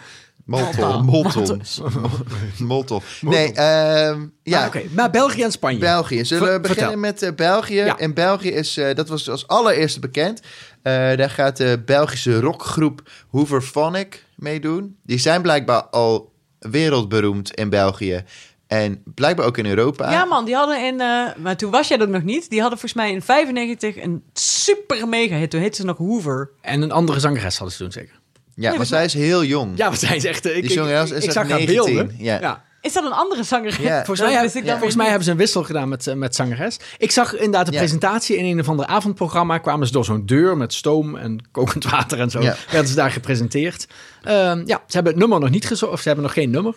[SPEAKER 4] Moltol. Moltol. Moltol. Nee, ehm, ja.
[SPEAKER 3] Maar Ah, Oké, maar België en Spanje.
[SPEAKER 4] België. Zullen we
[SPEAKER 3] Ver-
[SPEAKER 4] beginnen
[SPEAKER 3] vertel.
[SPEAKER 4] met eh, België?
[SPEAKER 3] Ja.
[SPEAKER 4] En België is, eh, dat was als allereerste bekend. Eh, daar gaat de Belgische rockgroep Hooverphonic meedoen. Die zijn blijkbaar al wereldberoemd in België. En blijkbaar ook in Europa.
[SPEAKER 1] Ja, man, die hadden in. eh, maar toen was jij dat nog niet. Die hadden volgens mij in 95 een super mega hit. Toen heette ze nog Hoover.
[SPEAKER 3] En een andere zangeres hadden ze toen zeker.
[SPEAKER 4] Ja, maar zij is heel jong.
[SPEAKER 3] Ja, want zij is echt... eh, Ik,
[SPEAKER 4] Die zangeres
[SPEAKER 3] ik,
[SPEAKER 4] is
[SPEAKER 3] ik
[SPEAKER 4] echt
[SPEAKER 3] zag haar
[SPEAKER 4] 19,
[SPEAKER 3] beelden.
[SPEAKER 4] ja.
[SPEAKER 1] Is dat een andere zangeres?
[SPEAKER 4] Ja.
[SPEAKER 3] Volgens,
[SPEAKER 1] Dat
[SPEAKER 3] mij,
[SPEAKER 1] wist
[SPEAKER 3] hebben-
[SPEAKER 1] ik
[SPEAKER 3] Nou ja,
[SPEAKER 1] dan
[SPEAKER 3] volgens
[SPEAKER 1] weer
[SPEAKER 3] mij
[SPEAKER 1] niet.
[SPEAKER 3] hebben ze een wissel gedaan met, eh, met zangeres. Ik zag inderdaad de
[SPEAKER 4] Ja.
[SPEAKER 3] presentatie in een of ander avondprogramma. Kwamen ze door zo'n deur met stoom en kokend water en zo.
[SPEAKER 4] Ja.
[SPEAKER 3] Werden ze daar gepresenteerd. Ehm, ja, ze hebben het nummer nog niet gezocht. Of ze hebben nog geen nummer.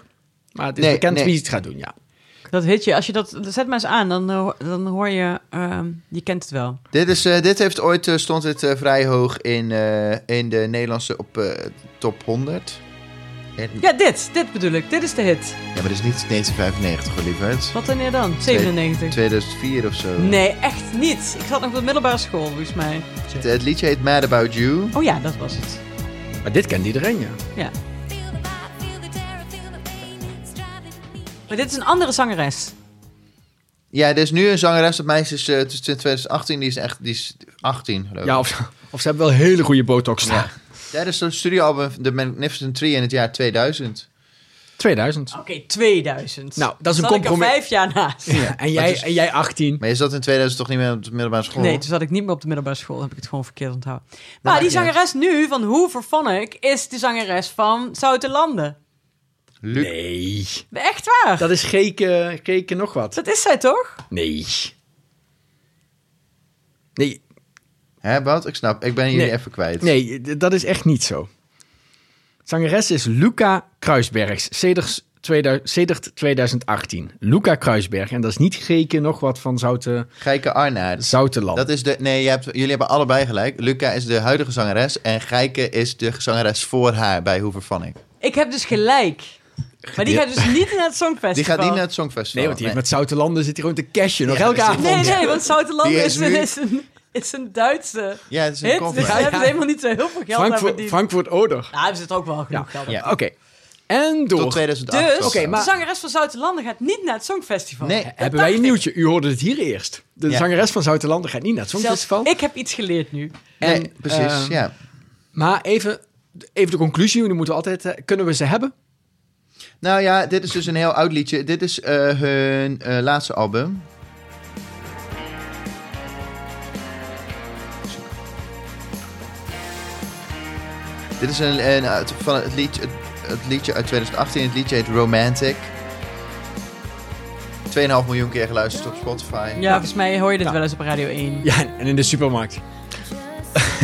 [SPEAKER 3] Maar het is
[SPEAKER 4] Nee,
[SPEAKER 3] bekend
[SPEAKER 4] nee.
[SPEAKER 3] wie het gaat doen, ja.
[SPEAKER 1] Dat hitje, als je dat. Zet maar eens aan, dan, eh, dan hoor je. ehm, je kent het wel.
[SPEAKER 4] Dit, is, eh, dit heeft ooit, eh, stond het eh, vrij hoog in, eh, in de Nederlandse op, eh, top 100. En, ja.
[SPEAKER 1] Ja, dit. Dit bedoel ik. Dit is de hit.
[SPEAKER 4] maar dat is niet 1995, hoor, lieverd.
[SPEAKER 1] Wat wanneer dan? 97.
[SPEAKER 4] 2004 of zo.
[SPEAKER 1] Nee, echt niet. Ik zat nog op de middelbare school, volgens mij.
[SPEAKER 4] Het, het liedje heet Mad About You.
[SPEAKER 1] Oh ja, dat was het.
[SPEAKER 3] Maar dit kent iedereen, ja.
[SPEAKER 1] Ja.
[SPEAKER 2] Feel the vibe, feel the terror, feel the pain. It's driving me.
[SPEAKER 1] Maar dit is een andere zangeres.
[SPEAKER 4] Ja, er is nu een zangeres, dat meisje is eh, tussen 2018, die is echt die is 18 geloof ik.
[SPEAKER 3] ja of, of ze hebben wel hele goede botox.
[SPEAKER 4] Ja. Tijdens het studioalbum The Magnificent Tree in het jaar 2000.
[SPEAKER 3] 2000.
[SPEAKER 1] Oké, 2000.
[SPEAKER 3] Nou, dat is een
[SPEAKER 1] Zat ik er
[SPEAKER 3] compromis.
[SPEAKER 1] vijf jaar naast.
[SPEAKER 3] Ja, en, jij, en jij 18.
[SPEAKER 4] Maar je zat in 2000 toch niet meer op de middelbare school?
[SPEAKER 1] Nee, toen zat ik niet meer op de middelbare school. Heb ik het gewoon verkeerd onthouden. Maar
[SPEAKER 3] maakt
[SPEAKER 1] Ah, die
[SPEAKER 3] niet
[SPEAKER 1] zangeres nu van Hoover Phonic is de zangeres van Zoutenlanden.
[SPEAKER 4] Luc,
[SPEAKER 3] Nee.
[SPEAKER 1] Echt waar? Dat,
[SPEAKER 3] Dat is geken, geken nog wat.
[SPEAKER 1] is zij toch?
[SPEAKER 3] Nee. Nee,
[SPEAKER 4] hè, wat? Ik snap, ik ben jullie
[SPEAKER 3] Nee.
[SPEAKER 4] even kwijt.
[SPEAKER 3] Nee, d- dat is echt niet zo. Zangeres is Luca Kruisbergs, sedert, 2000, sedert 2018. Luca Kruisberg, en dat is niet Geke nog wat van Zouten,
[SPEAKER 4] Geike Arnaert.
[SPEAKER 3] Zoutenland.
[SPEAKER 4] Dat is de, nee, je hebt, jullie hebben allebei gelijk. Luca is de huidige zangeres en Geike is de zangeres voor haar bij Hoover Phonic.
[SPEAKER 1] Ik heb dus gelijk. Maar die gaat dus niet naar het Songfestival.
[SPEAKER 4] Die gaat niet naar het Songfestival.
[SPEAKER 3] Nee, want die heeft met Zoutenlanden zit hij gewoon te cashen nog elke avond.
[SPEAKER 1] Nee, nee, want Zoutenlanden
[SPEAKER 4] Die
[SPEAKER 1] is,
[SPEAKER 4] is nu-
[SPEAKER 1] is, een, is een Duitse
[SPEAKER 4] Ja, het is een
[SPEAKER 1] hit. Dus
[SPEAKER 4] cover.
[SPEAKER 1] daar
[SPEAKER 3] Ja,
[SPEAKER 1] hebben ze
[SPEAKER 3] ja.
[SPEAKER 1] helemaal niet zo heel veel geld aan
[SPEAKER 3] Frankfurt,
[SPEAKER 1] verdiend.
[SPEAKER 3] Frankfurt Oder.
[SPEAKER 1] Nou, hebben ze het ook wel genoeg geld aan.
[SPEAKER 4] Ja.
[SPEAKER 3] Oké, en door.
[SPEAKER 4] Tot 2008.
[SPEAKER 1] Dus,
[SPEAKER 4] was
[SPEAKER 3] Oké,
[SPEAKER 4] dat.
[SPEAKER 1] de
[SPEAKER 3] maar-
[SPEAKER 1] zangeres van Zoutenlanden gaat niet naar het Songfestival.
[SPEAKER 4] Nee,
[SPEAKER 3] Hebben wij een nieuwtje? U hoorde het hier eerst. De
[SPEAKER 4] Ja.
[SPEAKER 3] zangeres van Zoutenlanden gaat niet naar het
[SPEAKER 1] Zelfs
[SPEAKER 3] Songfestival.
[SPEAKER 1] ik heb iets geleerd nu.
[SPEAKER 4] nee,
[SPEAKER 3] En,
[SPEAKER 4] precies,
[SPEAKER 3] ehm,
[SPEAKER 4] ja.
[SPEAKER 3] Maar even, even de conclusie, want die moeten we altijd... eh, kunnen we ze hebben?
[SPEAKER 4] Nou ja, dit is dus een heel oud liedje. Dit is eh, hun eh, laatste album. Dit is een, een uit- van het liedje, het, het liedje uit 2018. Het liedje heet Romantic. 2,5 miljoen keer geluisterd op Spotify.
[SPEAKER 1] Ja, volgens mij hoor je dit
[SPEAKER 3] Ja.
[SPEAKER 1] wel eens op Radio 1.
[SPEAKER 3] Ja, en in de supermarkt.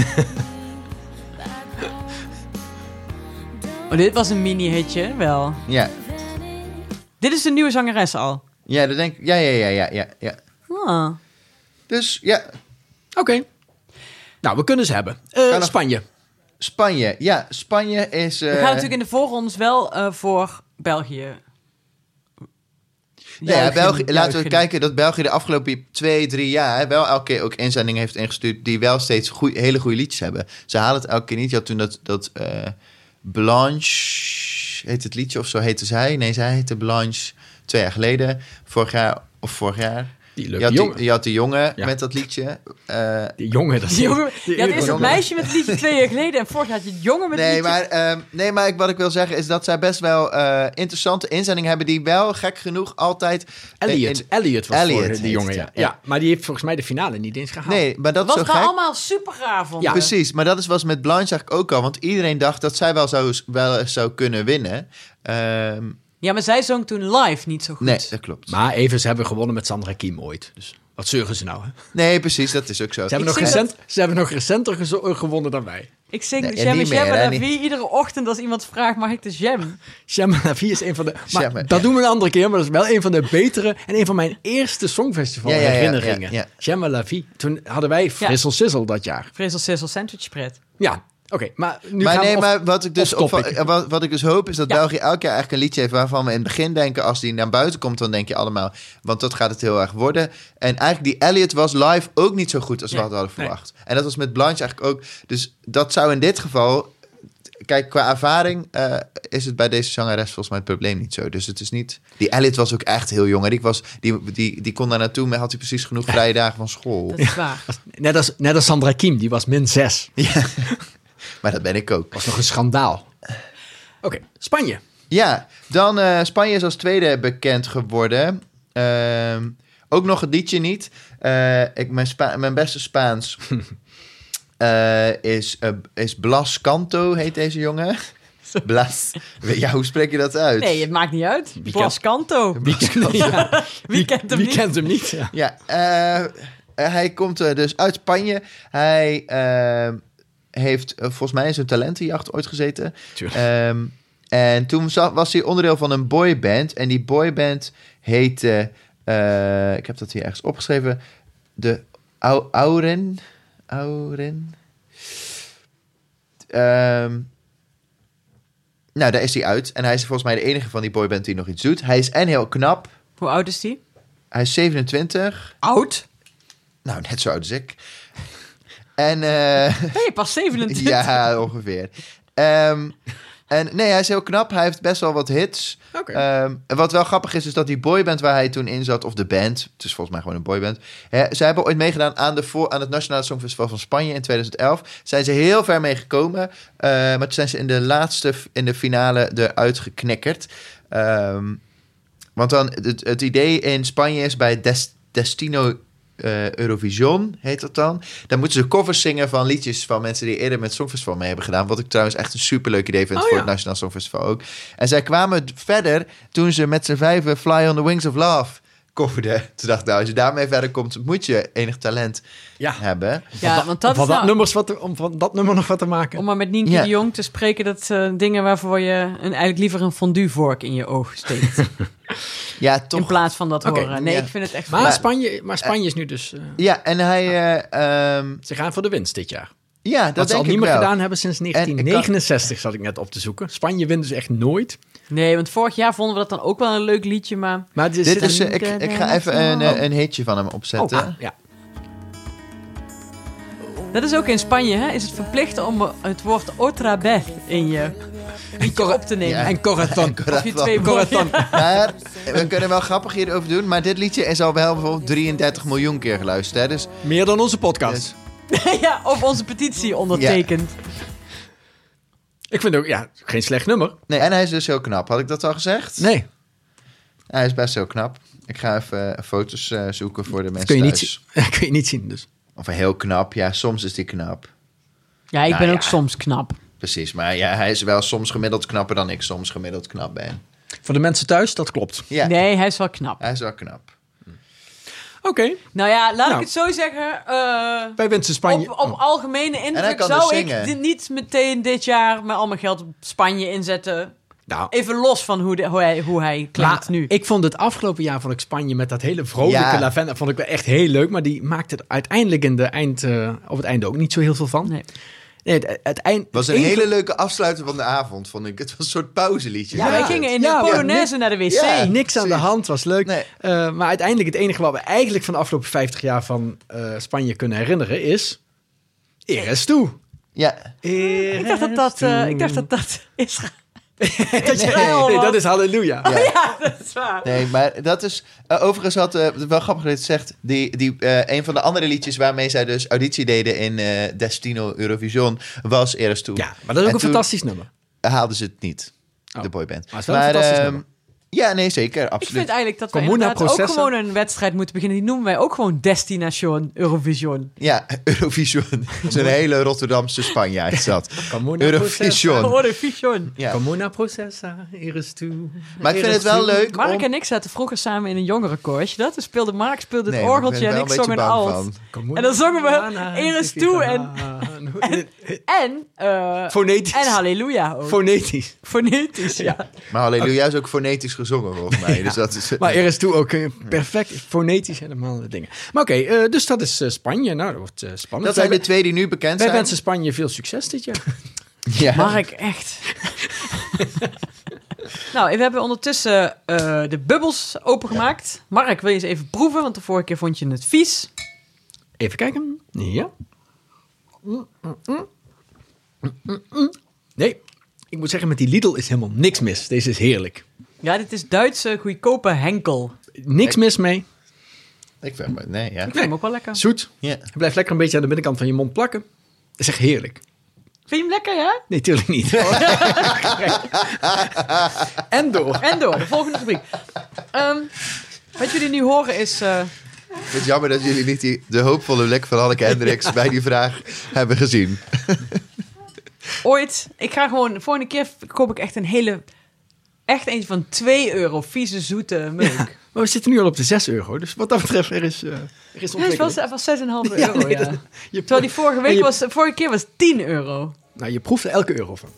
[SPEAKER 1] Oh, dit was een mini-hitje, wel.
[SPEAKER 4] Ja,
[SPEAKER 1] Dit is de nieuwe zangeres al.
[SPEAKER 4] ja, dat denk ik. Ja, ja, ja, ja, ja, ja.
[SPEAKER 1] Ah.
[SPEAKER 4] Dus ja,
[SPEAKER 3] Oké. Nou, we kunnen ze hebben. Eh,
[SPEAKER 4] Kan nog-
[SPEAKER 3] Spanje.
[SPEAKER 4] Spanje. Ja, Spanje is... eh,
[SPEAKER 1] We gaan natuurlijk in de voorrondes wel eh, voor België.
[SPEAKER 4] Nou ja,
[SPEAKER 1] Juichen,
[SPEAKER 4] België, laten we
[SPEAKER 1] juichen.
[SPEAKER 4] kijken dat België de afgelopen twee, drie jaar wel elke keer ook inzendingen heeft ingestuurd die wel steeds goeie- hele goede liedjes hebben. Ze halen het elke keer niet. Je had toen dat, dat eh, Blanche, heet het liedje of zo heette zij? Nee, zij heette Blanche twee jaar geleden, vorig jaar of vorig jaar.
[SPEAKER 3] Die
[SPEAKER 4] Je
[SPEAKER 3] leuke
[SPEAKER 4] had
[SPEAKER 3] jongen.
[SPEAKER 4] die, je had die jongen
[SPEAKER 3] Ja.
[SPEAKER 4] met dat liedje. eh,
[SPEAKER 3] Die jongen, dat is...
[SPEAKER 1] Die jongen, ja, dat is dat
[SPEAKER 4] jongen.
[SPEAKER 1] meisje met het liedje twee jaar geleden en vorig jaar had je het jongen met het
[SPEAKER 4] nee,
[SPEAKER 1] liedje.
[SPEAKER 4] maar, ehm, nee, maar ik- wat ik wil zeggen is dat zij best wel eh, interessante inzendingen hebben die wel gek genoeg altijd... eh,
[SPEAKER 3] Elliot.
[SPEAKER 4] in-
[SPEAKER 3] Elliot was
[SPEAKER 4] Elliot
[SPEAKER 3] voor
[SPEAKER 4] heet
[SPEAKER 3] die jongen,
[SPEAKER 4] het,
[SPEAKER 3] ja.
[SPEAKER 4] ja.
[SPEAKER 3] ja. maar die heeft volgens mij de finale niet eens gehaald.
[SPEAKER 4] nee, maar dat is
[SPEAKER 1] Wat
[SPEAKER 4] zo
[SPEAKER 1] we
[SPEAKER 4] gek.
[SPEAKER 1] allemaal super gaar vonden.
[SPEAKER 3] Ja.
[SPEAKER 4] Precies, maar dat is, was met Blanche eigenlijk ook al. Want iedereen dacht dat zij wel zou, wel eens zou kunnen winnen. Ehm,
[SPEAKER 1] Ja, maar zij zong toen live niet zo goed.
[SPEAKER 4] nee, dat klopt.
[SPEAKER 3] Maar even, ze hebben gewonnen met Sandra Kiem ooit. Dus wat zeuren ze nou, hè? Ze
[SPEAKER 4] Nee, precies, dat is ook zo.
[SPEAKER 3] hebben, nog,
[SPEAKER 1] zie dat-
[SPEAKER 3] recent, ze hebben nog recenter gezo- eh, gewonnen dan wij.
[SPEAKER 1] Ik zing
[SPEAKER 4] Nee,
[SPEAKER 1] de
[SPEAKER 4] en
[SPEAKER 1] Jam en
[SPEAKER 4] niet meer,
[SPEAKER 1] Jam
[SPEAKER 4] hè,
[SPEAKER 1] en wie iedere ochtend als iemand vraagt, mag ik de jam?
[SPEAKER 3] Shemma Navi is een van de... Maar
[SPEAKER 4] Shemma,
[SPEAKER 3] dat
[SPEAKER 4] ja.
[SPEAKER 3] doen we een andere keer, maar dat is wel een van de betere... en een van mijn eerste Songfestival
[SPEAKER 4] Ja, ja, ja,
[SPEAKER 3] herinneringen.
[SPEAKER 4] ja, ja.
[SPEAKER 3] Shemma Lavi. Toen hadden wij Frissel Sizzle dat jaar.
[SPEAKER 1] Frizzle Sizzle Sandwich Spread.
[SPEAKER 3] Ja, oké. maar nu
[SPEAKER 4] maar
[SPEAKER 3] gaan we
[SPEAKER 4] nee,
[SPEAKER 3] of-
[SPEAKER 4] maar wat ik, dus
[SPEAKER 3] of topic.
[SPEAKER 4] opva- eh, wat, wat ik dus hoop is dat
[SPEAKER 1] Ja.
[SPEAKER 4] België elk jaar eigenlijk een liedje heeft waarvan we in het begin denken, als die naar buiten komt, dan denk je allemaal, want dat gaat het heel erg worden. En eigenlijk die Elliot was live ook niet zo goed als we
[SPEAKER 1] Nee,
[SPEAKER 4] hadden
[SPEAKER 1] nee.
[SPEAKER 4] verwacht. En dat was met Blanche eigenlijk ook. Dus dat zou in dit geval kijk, qua ervaring eh, is het bij deze zangeres volgens mij het probleem niet zo. Dus het is niet... Die Elliot was ook echt heel jong. En ik was, die, die, die kon daar naartoe, maar had hij precies genoeg vrije dagen van school.
[SPEAKER 1] Dat is waar.
[SPEAKER 3] Net als, net als Sandra Kim, die was min 6.
[SPEAKER 4] Maar dat ben ik ook.
[SPEAKER 3] was nog een schandaal. Oké, Spanje.
[SPEAKER 4] Ja, dan eh, Spanje is als tweede bekend geworden. Ehm, ook nog het liedje niet. Eh, ik, mijn, Spa- mijn beste Spaans eh, is, eh, is Blas Canto, heet deze jongen. Blas. Ja, hoe spreek je dat uit?
[SPEAKER 1] Nee, het maakt niet uit. Blas Kanto.
[SPEAKER 4] Blas Canto.
[SPEAKER 1] Wie kent hem
[SPEAKER 3] Wie
[SPEAKER 1] niet?
[SPEAKER 3] kent hem niet? Ja.
[SPEAKER 4] Ja, eh, hij komt eh, dus uit Spanje. Hij eh, heeft eh, volgens mij in zijn talentenjacht ooit gezeten.
[SPEAKER 3] Tuurlijk.
[SPEAKER 4] Ehm, en toen za- was hij onderdeel van een boyband. En die boyband heette... eh, ik heb dat hier ergens opgeschreven. De Au- Auren. Auren. Ehm, nou, daar is hij uit. En hij is volgens mij de enige van die boyband die nog iets doet. Hij is en heel knap.
[SPEAKER 1] Hoe oud is die?
[SPEAKER 4] Hij is 27.
[SPEAKER 1] Oud?
[SPEAKER 4] Nou, net zo oud als ik. En eh,
[SPEAKER 1] Ben je pas 27?
[SPEAKER 4] ja, ongeveer. Ehm, en nee, hij is heel knap. Hij heeft best wel wat hits.
[SPEAKER 3] Oké.
[SPEAKER 4] Ehm, en wat wel grappig is, is dat die boyband waar hij toen in zat, of de band, het is volgens mij gewoon een boyband. Hè, zij hebben ooit meegedaan aan, de voor, aan het Nationale Songfestival van Spanje in 2011. Zijn ze heel ver mee gekomen, eh, maar toen zijn ze in de laatste, f- in de finale eruit geknekkerd. Ehm, want dan, het, het idee in Spanje is bij Des- Destino eh, Eurovision, heet dat dan. Dan moeten ze covers zingen van liedjes van mensen die eerder met Songfestival mee hebben gedaan. Wat ik trouwens echt een superleuk idee vind
[SPEAKER 1] Oh,
[SPEAKER 4] voor
[SPEAKER 1] ja.
[SPEAKER 4] het Nationaal Songfestival ook. En zij kwamen d- verder toen ze met z'n vijven Fly on the Wings of Love coverden. Toen dacht ik, nou, als je daarmee verder komt, moet je enig talent
[SPEAKER 3] ja.
[SPEAKER 4] hebben.
[SPEAKER 1] Ja, want dat
[SPEAKER 3] om,
[SPEAKER 1] is
[SPEAKER 3] van dat
[SPEAKER 1] nou-
[SPEAKER 3] nummers wat te- om van dat nummer nog wat te maken.
[SPEAKER 1] Om maar met Nienke
[SPEAKER 4] Ja.
[SPEAKER 1] de Jong te spreken, dat zijn dingen waarvoor je een, eigenlijk liever een fonduevork in je oog steekt.
[SPEAKER 4] Ja, toch.
[SPEAKER 1] In plaats van dat
[SPEAKER 3] Oké,
[SPEAKER 1] horen. Nee,
[SPEAKER 4] ja.
[SPEAKER 1] ik vind het echt...
[SPEAKER 3] maar,
[SPEAKER 4] Maar-
[SPEAKER 3] Spanje, maar Spanje is nu dus... eh,
[SPEAKER 4] Ja, en hij... eh, ehm,
[SPEAKER 3] ze gaan voor de winst dit jaar.
[SPEAKER 4] ja, dat
[SPEAKER 3] Dat ze al
[SPEAKER 4] denk ik
[SPEAKER 3] niet meer
[SPEAKER 4] wel.
[SPEAKER 3] gedaan hebben sinds
[SPEAKER 4] ik kan-
[SPEAKER 3] 1969, zat ik net op te zoeken. Spanje wint dus echt nooit.
[SPEAKER 1] Nee, want vorig jaar vonden we dat dan ook wel een leuk liedje, maar...
[SPEAKER 3] Maar er
[SPEAKER 4] Dit
[SPEAKER 3] zit
[SPEAKER 4] is,
[SPEAKER 3] een-
[SPEAKER 4] eh, ik, ik ga even een, eh, een hitje van hem opzetten.
[SPEAKER 3] Ah, ja.
[SPEAKER 1] Dat is ook in Spanje, hè? Is het verplicht om het woord otra vez in je liedje op te nemen?
[SPEAKER 4] Ja.
[SPEAKER 3] En Corazon.
[SPEAKER 1] Of je
[SPEAKER 4] Raad wel.
[SPEAKER 1] twee woorden...
[SPEAKER 3] Corazon.
[SPEAKER 4] Maar we kunnen wel grappig hierover doen. Maar dit liedje is al wel bijvoorbeeld 33 miljoen keer geluisterd. Hè? Dus,
[SPEAKER 3] Meer dan onze podcast.
[SPEAKER 4] dus-
[SPEAKER 1] ja, of onze petitie ondertekend.
[SPEAKER 3] Ik vind ook, ja, geen slecht nummer.
[SPEAKER 4] nee, en hij is dus heel knap. Had ik dat al gezegd?
[SPEAKER 3] Nee.
[SPEAKER 4] Hij is best heel knap. Ik ga even eh, foto's eh, zoeken voor de mensen
[SPEAKER 3] kun je, niet,
[SPEAKER 4] thuis.
[SPEAKER 3] zien- kun je niet zien, dus.
[SPEAKER 4] Of heel knap. Ja, soms is die knap.
[SPEAKER 1] Ja, ik
[SPEAKER 4] Nou
[SPEAKER 1] ben
[SPEAKER 4] ja.
[SPEAKER 1] ook soms knap.
[SPEAKER 4] Precies. Maar ja, hij is wel soms gemiddeld knapper dan ik soms gemiddeld knap ben.
[SPEAKER 3] Voor de mensen thuis, dat klopt.
[SPEAKER 4] Ja,
[SPEAKER 1] Nee, hij is wel knap.
[SPEAKER 4] hij is wel knap.
[SPEAKER 3] Oké.
[SPEAKER 1] Nou ja, laat ik
[SPEAKER 3] Nou.
[SPEAKER 1] het zo zeggen. eh,
[SPEAKER 3] Wij wensen Spanje... Oh.
[SPEAKER 1] Op, op algemene
[SPEAKER 4] hij
[SPEAKER 1] indruk
[SPEAKER 4] kan dus
[SPEAKER 1] zou ik
[SPEAKER 4] zingen.
[SPEAKER 1] dit niet meteen dit jaar met al mijn geld op Spanje inzetten.
[SPEAKER 3] nou,
[SPEAKER 1] Even los van hoe, de- hoe hij, hoe hij klinkt
[SPEAKER 3] la-
[SPEAKER 1] nu.
[SPEAKER 3] Ik vond het afgelopen jaar vond ik Spanje met dat hele vrolijke
[SPEAKER 4] Ja.
[SPEAKER 3] lavenda vond ik wel echt heel leuk. Maar die maakte het uiteindelijk in de eind, eh, op het einde ook niet zo heel veel van.
[SPEAKER 1] Nee.
[SPEAKER 3] Nee, het, het eind,
[SPEAKER 4] Het was een
[SPEAKER 3] enige-
[SPEAKER 4] hele leuke afsluiter van de avond, vond ik. Het was een soort pauzeliedje.
[SPEAKER 1] ja,
[SPEAKER 3] Ja,
[SPEAKER 1] wij gingen in
[SPEAKER 3] ja,
[SPEAKER 1] de
[SPEAKER 3] ja,
[SPEAKER 1] Polonaise naar de wc.
[SPEAKER 4] Ja.
[SPEAKER 3] Hey, niks aan de hand, was leuk.
[SPEAKER 4] Nee.
[SPEAKER 3] Eh, maar uiteindelijk het enige wat we eigenlijk van de afgelopen 50 jaar van eh, Spanje kunnen herinneren is... Eres toe.
[SPEAKER 4] Ja.
[SPEAKER 1] Ik dacht dat dat, eh, ik dacht dat, dat is...
[SPEAKER 3] dat je-
[SPEAKER 1] Israël
[SPEAKER 3] nee,
[SPEAKER 1] was.
[SPEAKER 3] dat is halleluja.
[SPEAKER 4] Ja.
[SPEAKER 1] Ja, dat is waar.
[SPEAKER 4] Nee, maar dat is... eh, overigens had... eh, het is wel grappig dat je het zegt. Die, die, eh, een van de andere liedjes waarmee zij dus auditie deden in eh, Destino Eurovision... was Eres Toe.
[SPEAKER 3] Ja, maar dat is ook
[SPEAKER 4] En
[SPEAKER 3] een
[SPEAKER 4] toen-
[SPEAKER 3] fantastisch nummer.
[SPEAKER 4] Haalden ze het niet,
[SPEAKER 3] Oh.
[SPEAKER 4] de boyband.
[SPEAKER 3] Maar het is wel een fantastisch
[SPEAKER 4] ehm,
[SPEAKER 3] nummer.
[SPEAKER 4] Ja, nee, zeker.
[SPEAKER 1] Ik vind
[SPEAKER 4] Absoluut.
[SPEAKER 1] eigenlijk dat we
[SPEAKER 3] Comuna
[SPEAKER 1] inderdaad ook
[SPEAKER 3] processen.
[SPEAKER 1] gewoon een wedstrijd moeten beginnen. Die noemen wij ook gewoon Destination Eurovision.
[SPEAKER 4] Ja, Eurovision. Het is een hele Rotterdamse Spanjaard is dat.
[SPEAKER 3] Camona
[SPEAKER 4] Eurovision.
[SPEAKER 1] Eurovision.
[SPEAKER 4] Ja.
[SPEAKER 3] Camona processa, Eres toe.
[SPEAKER 4] Maar ik vind het wel leuk
[SPEAKER 1] Mark
[SPEAKER 4] om...
[SPEAKER 1] en ik zaten vroeger samen in een jongerenkoor. Weet je dat? Dus speelde Mark speelde het
[SPEAKER 4] Nee, maar
[SPEAKER 1] orgeltje
[SPEAKER 4] ben
[SPEAKER 1] en
[SPEAKER 4] er
[SPEAKER 1] ik
[SPEAKER 4] wel
[SPEAKER 1] zong een
[SPEAKER 4] beetje bang
[SPEAKER 1] alt.
[SPEAKER 4] van.
[SPEAKER 1] En dan zongen we Eres toe en-
[SPEAKER 3] Ah, en...
[SPEAKER 1] En, eh,
[SPEAKER 3] nou, Fonetisch.
[SPEAKER 1] en Halleluja ook.
[SPEAKER 3] Fonetisch.
[SPEAKER 1] Fonetisch, ja.
[SPEAKER 4] Maar Halleluja is ook fonetisch gezongen, volgens mij. Dus dat is...
[SPEAKER 3] Maar Eres toe ook eh, perfect, fonetisch helemaal dingen. Maar oké, eh, dus dat is eh, Spanje. Nou, dat wordt eh, spannend.
[SPEAKER 4] Dat zijn
[SPEAKER 3] wij,
[SPEAKER 4] de twee die nu bekend
[SPEAKER 3] wij
[SPEAKER 4] zijn.
[SPEAKER 3] wensen Spanje veel succes dit jaar.
[SPEAKER 4] Ja.
[SPEAKER 1] Mark, echt. nou, we hebben ondertussen eh, de bubbels opengemaakt. Mark, wil je eens even proeven? Want de vorige keer vond je het vies.
[SPEAKER 3] Even kijken. Ja. Nee, ik moet zeggen, met die Lidl is helemaal niks mis. Deze is heerlijk.
[SPEAKER 1] Ja, dit is Duitse goedkope henkel. Ik
[SPEAKER 3] Niks mis mee.
[SPEAKER 4] Ik vind maar, nee, ja.
[SPEAKER 1] vind hem ook wel lekker.
[SPEAKER 3] Zoet.
[SPEAKER 4] ja.
[SPEAKER 3] Het blijft lekker een beetje aan de binnenkant van je mond plakken. Dat is echt heerlijk.
[SPEAKER 1] Vind je hem lekker, ja?
[SPEAKER 3] Nee, tuurlijk niet. en door.
[SPEAKER 1] En door, de volgende rubriek. Ehm, wat jullie nu horen is... eh,
[SPEAKER 4] Ik vind het jammer dat jullie niet die, de hoopvolle blik van Hanneke Hendricks bij die vraag hebben gezien.
[SPEAKER 1] ooit... Ik ga gewoon... De volgende keer koop ik echt een hele... Echt eentje van 2 euro. Vieze, zoete meuk.
[SPEAKER 3] Maar we zitten nu al op de 6 euro. Dus wat dat betreft, er is, eh er is
[SPEAKER 1] Ja, het was,
[SPEAKER 3] ontwikkeling.
[SPEAKER 1] het was 6,5 euro,
[SPEAKER 3] Ja, nee,
[SPEAKER 1] ja.
[SPEAKER 3] dat- je,
[SPEAKER 1] Terwijl die vorige, week
[SPEAKER 3] je-
[SPEAKER 1] was, vorige keer was 10 euro.
[SPEAKER 3] nou, je proeft er elke euro van.